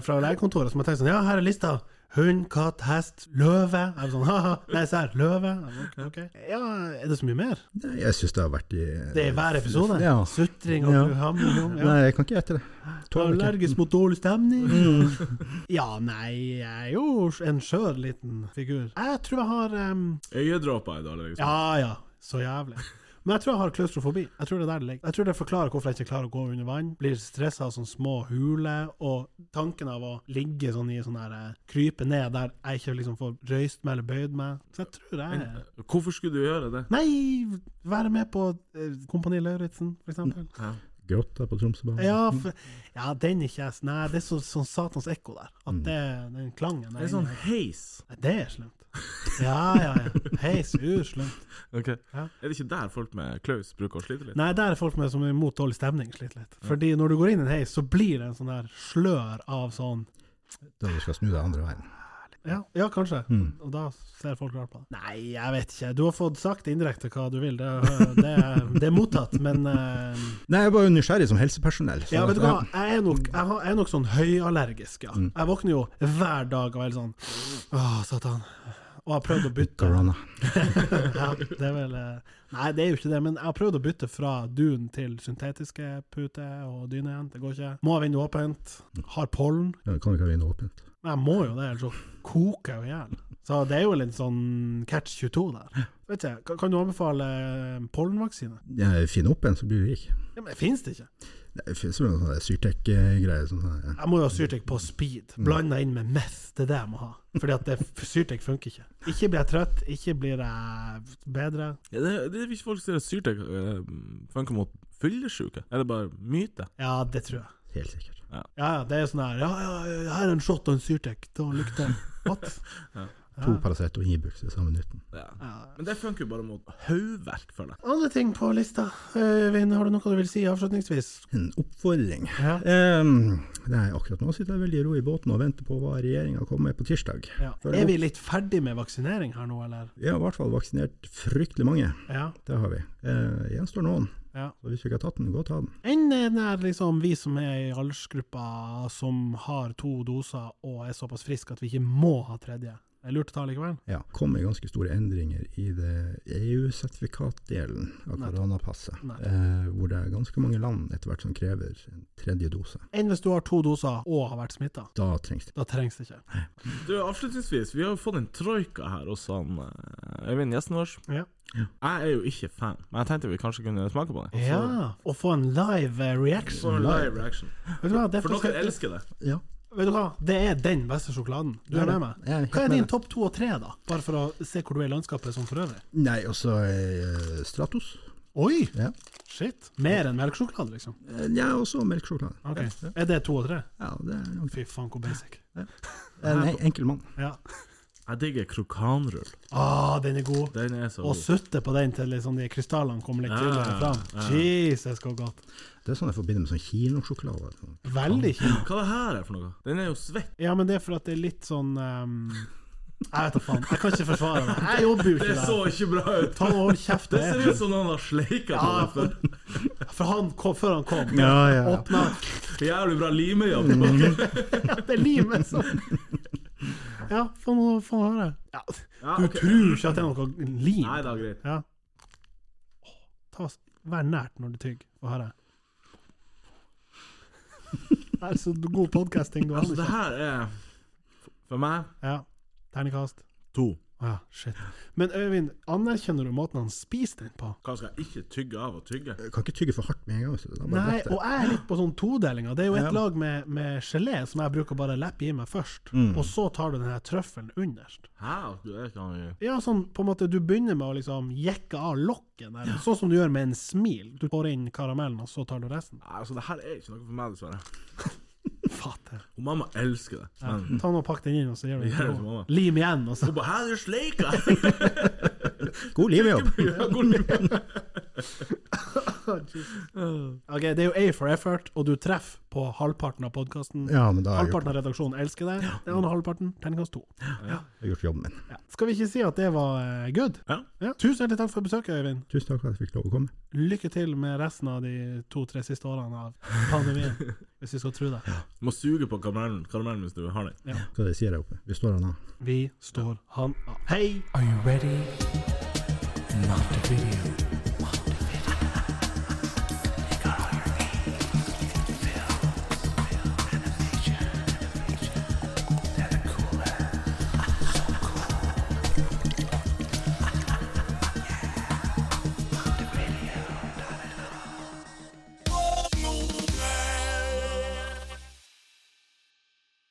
Speaker 1: fra legekontoret som har tenkt sånn Ja, her er lista. Hund, katt, hest, løve. Jeg var sånn, <laughs> haha, Nei, sær, løve. Jeg var, Ok, ok. Ja, er det så mye mer?
Speaker 4: Nei, Jeg syns det har vært i
Speaker 1: Det er i hver episode.
Speaker 4: Ja.
Speaker 1: Sutring og
Speaker 4: Ja.
Speaker 1: hamring. Ja.
Speaker 4: Nei, jeg kan ikke gjette det. Tåler ikke.
Speaker 1: Allergisk mot dårlig stemning.
Speaker 4: Mm.
Speaker 1: <laughs> Ja, nei, jeg er jo en skjør liten figur. Jeg tror jeg har em,
Speaker 2: Øyedråper er det allerede.
Speaker 1: Ja ja, så jævlig. Men jeg tror jeg har klaustrofobi. Jeg tror det er der det ligger. Jeg tror det forklarer hvorfor jeg ikke klarer å gå under vann. Blir stressa av sånne små huler, og tanken av å ligge sånn i sånn her eh, Krype ned der jeg ikke liksom får røyst meg eller bøyd meg. Så jeg tror jeg
Speaker 2: Hvorfor skulle du gjøre det?
Speaker 1: Nei, være med på eh, Kompani Lauritzen, for eksempel.
Speaker 2: Mm.
Speaker 4: Grotta på Tromsøbanen.
Speaker 1: Ja, for, ja den er ikke jeg s- Nei, det er så, sånn satans ekko der. At det, den klangen
Speaker 2: Mm. Det
Speaker 1: der
Speaker 2: er sånn
Speaker 1: inne.
Speaker 2: heis.
Speaker 1: Nei, Det er slemt. Ja, ja, ja. Heis, urslemt. Ja.
Speaker 2: Er det ikke der folk med klaus bruker å slite litt?
Speaker 1: Nei, der er folk med som er imot dårlig stemning sliter litt. Fordi når du går inn i en heis, så blir det en sånn der slør av sånn
Speaker 4: Da du skal snu deg andre veien.
Speaker 1: Ja, ja kanskje. Og da ser folk rart på det. Mm. Nei, jeg vet ikke. Du har fått sagt indirekte hva du vil. Det, det, er- det er mottatt, men eh,
Speaker 4: Nei, jeg var jo nysgjerrig som helsepersonell. så-
Speaker 1: Ja, vet du hva, jeg er nok, jeg har- jeg er nok Mm. sånn høyallergisk, ja. Jeg våkner jo hver dag og er litt sånn Å, satan. og har prøvd å bytte.
Speaker 4: Corona.
Speaker 1: Ja, det er vel eh, Nei, det er jo ikke det, men jeg har prøvd å bytte fra dun til syntetiske puter og dyne igjen. Det går ikke. Må ha vinduet åpent. Har pollen.
Speaker 4: Ja, det kan jo ikke ha vinduet åpent.
Speaker 1: Men jeg må jo det, ellers så koker jeg jo i hjel. Så det er jo litt sånn catch 22 der. Vet ikke, kan- Kan du anbefale eh, pollenvaksine?
Speaker 4: Jeg finner opp en, så blir du rik.
Speaker 1: Ja, men Fins det ikke?
Speaker 4: Det finnes jo en sånn Syrtec-greie. Sånn, der, ja.
Speaker 1: Jeg må jo ha Syrtec på speed, blanda inn med meth. Det er det jeg må ha. Fordi at det- Syrtec funker ikke. Ikke blir jeg trøtt, ikke blir jeg bedre.
Speaker 2: Ja, det, det er hvis folk sier at syrtek eh, funker mot fyllesyke. Er det bare myte?
Speaker 1: Ja, det tror jeg.
Speaker 4: Helt sikkert.
Speaker 1: Ja, ja, det er sånn her Ja, ja, her er en shot og en Syrtec. Da lukter jeg. What?
Speaker 4: To Paracet og Ibux i samme nytten.
Speaker 2: <laughs> Ja. Men det funker jo bare mot hodeverk, føler jeg.
Speaker 1: Andre ting på lista. Øyvind, har du noe du vil si avslutningsvis?
Speaker 4: En oppfordring.
Speaker 1: Ja.
Speaker 4: Ehm, nei, akkurat nå sitter jeg veldig i ro i båten og venter på hva regjeringa kommer med på tirsdag. Følg
Speaker 1: Er vi
Speaker 4: opp.
Speaker 1: litt ferdig med vaksinering her nå, eller?
Speaker 4: Vi har i hvert fall vaksinert fryktelig mange.
Speaker 1: Ja.
Speaker 4: Det har vi. Eh, gjenstår noen.
Speaker 1: Ja.
Speaker 4: Så hvis du ikke har tatt den, gå og ta den.
Speaker 1: Enn den her, liksom, vi som er i aldersgruppa som har to doser og er såpass friske at vi ikke må ha tredje? Det er lurt å ta likevel.
Speaker 4: Ja, kommer ganske store endringer i det EU-sertifikatdelen av
Speaker 1: Nettopp.
Speaker 4: koronapasset,
Speaker 1: Nettopp.
Speaker 4: eh, hvor det er ganske mange land etter hvert som krever en tredje dose.
Speaker 1: Enn hvis du har to doser og har vært smitta?
Speaker 4: Da trengs det.
Speaker 1: Da trengs det ikke.
Speaker 2: Du, Avslutningsvis, vi har jo fått en troika her hos han eh, Øyvind, gjesten vår.
Speaker 1: Ja.
Speaker 2: Jeg er jo ikke fan, men jeg tenkte vi kanskje kunne smake på det.
Speaker 1: ja. Å få en live eh, reaction.
Speaker 2: Så en live reaction.
Speaker 1: Vet du hva, det er
Speaker 2: For dere
Speaker 1: faktisk-
Speaker 2: elsker det.
Speaker 4: Ja,
Speaker 1: Vet du hva? Det er den beste sjokoladen. Du er med meg.
Speaker 4: Jeg er helt
Speaker 1: Hva er
Speaker 4: med
Speaker 1: din
Speaker 4: deg.
Speaker 1: topp to og tre, da? Bare for å se hvor du er i landskapet som for øvrig.
Speaker 4: Nei, også eh, Stratos.
Speaker 1: Oi!
Speaker 4: Ja,
Speaker 1: Shit. Mer enn melkesjokolade, liksom?
Speaker 4: Eh, ja også melkesjokolade.
Speaker 1: Ok. Er det to og tre?
Speaker 4: Ja, det er nok
Speaker 1: Fy faen, hvor basic.
Speaker 4: en en- enkel mann.
Speaker 1: Ja.
Speaker 2: Jeg digger krokanrull.
Speaker 1: Ah, den er god.
Speaker 2: Den er så
Speaker 1: Og
Speaker 2: god.
Speaker 1: sutte på den til liksom de krystallene kommer litt tydeligere
Speaker 2: Ja,
Speaker 1: fram. Jesus, hvor godt.
Speaker 4: Det er sånn jeg forbinder med sånn kinosjokolade.
Speaker 1: Veldig kjent.
Speaker 2: Hva det her er for noe? Den er jo svett.
Speaker 1: Ja, men det er for at det er litt sånn ehm, Jeg vet da faen. Jeg kan ikke forsvare det. Jeg jobber jo
Speaker 2: Det
Speaker 1: ikke
Speaker 2: så
Speaker 1: der.
Speaker 2: ikke bra ut.
Speaker 1: Ta og hold kjeft.
Speaker 2: <laughs> Det
Speaker 1: det er-
Speaker 2: ser ut som noen har sleika på
Speaker 1: Ja,
Speaker 2: det før.
Speaker 1: For han kom, før han kom,
Speaker 4: Ja, ja, ja.
Speaker 1: åpna
Speaker 2: Jævlig bra altså. limejobb. tilbake.
Speaker 1: Det er livet sånn. Ja, få nå- få nå høre. Ja,
Speaker 2: Ja,
Speaker 1: du
Speaker 2: Ah, ok.
Speaker 1: tror ikke at det er noe lim?
Speaker 2: Nei, det er greit.
Speaker 1: Ja. Ta, oss- vær nært når du tygger. Få høre. Det er så god podcasting du har.
Speaker 2: Altså, det her er For meg
Speaker 1: Ja. Terningkast.
Speaker 2: to.
Speaker 1: Å ja, shit. Men Øyvind, anerkjenner du måten han spiser den på?
Speaker 2: Hva skal jeg ikke tygge av å tygge?
Speaker 4: Jeg kan ikke tygge for hardt med en gang. Så det er bare
Speaker 1: Nei,
Speaker 4: lett det.
Speaker 1: og jeg er litt på sånn todelinga. Det er jo et
Speaker 4: Ja.
Speaker 1: lag med, med gelé som jeg bruker bare å leppe i meg først, og så tar du den her trøffelen underst.
Speaker 2: Hæ? Du er ikke han i-
Speaker 1: Ja, sånn på en måte du begynner med å liksom jekke av lokken, der, sånn som du gjør med en smil. Du får inn karamellen, og så tar du resten.
Speaker 2: Nei, altså, det her er ikke noe for meg, dessverre.
Speaker 1: Fatter.
Speaker 2: Og mamma elsker det.
Speaker 1: Ja.
Speaker 2: Men
Speaker 1: Ta nå og Pakk den inn, og så gir du
Speaker 2: Vi gjør det
Speaker 1: den
Speaker 2: som
Speaker 1: til henne.
Speaker 2: mamma.
Speaker 1: Lim igjen,
Speaker 2: <laughs>
Speaker 1: og så
Speaker 2: Hun bare, Hæ, du sleika!
Speaker 4: God livjobb! <laughs>
Speaker 2: Ja, god limejobb.
Speaker 1: Ok, Det er jo A for effort, og du treffer på halvparten av podkasten.
Speaker 4: Ja, men da har jeg
Speaker 1: halvparten av redaksjonen elsker deg. Den andre halvparten, terningkast to.
Speaker 4: gjort, gjort jobben min.
Speaker 1: Ja. Skal vi ikke si at det var eh, good?
Speaker 2: Ja.
Speaker 1: Tusen hjertelig takk for besøket, Øyvind.
Speaker 4: Tusen takk for at jeg fikk lov å komme.
Speaker 1: Lykke til med resten av de to-tre siste årene av
Speaker 2: <laughs>
Speaker 1: pandemien, hvis vi skal tro det.
Speaker 2: Du må suge på karamellen, karamellen hvis du har den.
Speaker 4: Hva er det de sier der oppe? Vi står her nå.
Speaker 1: Vi står han av. Hei!
Speaker 3: Are you ready? Not a video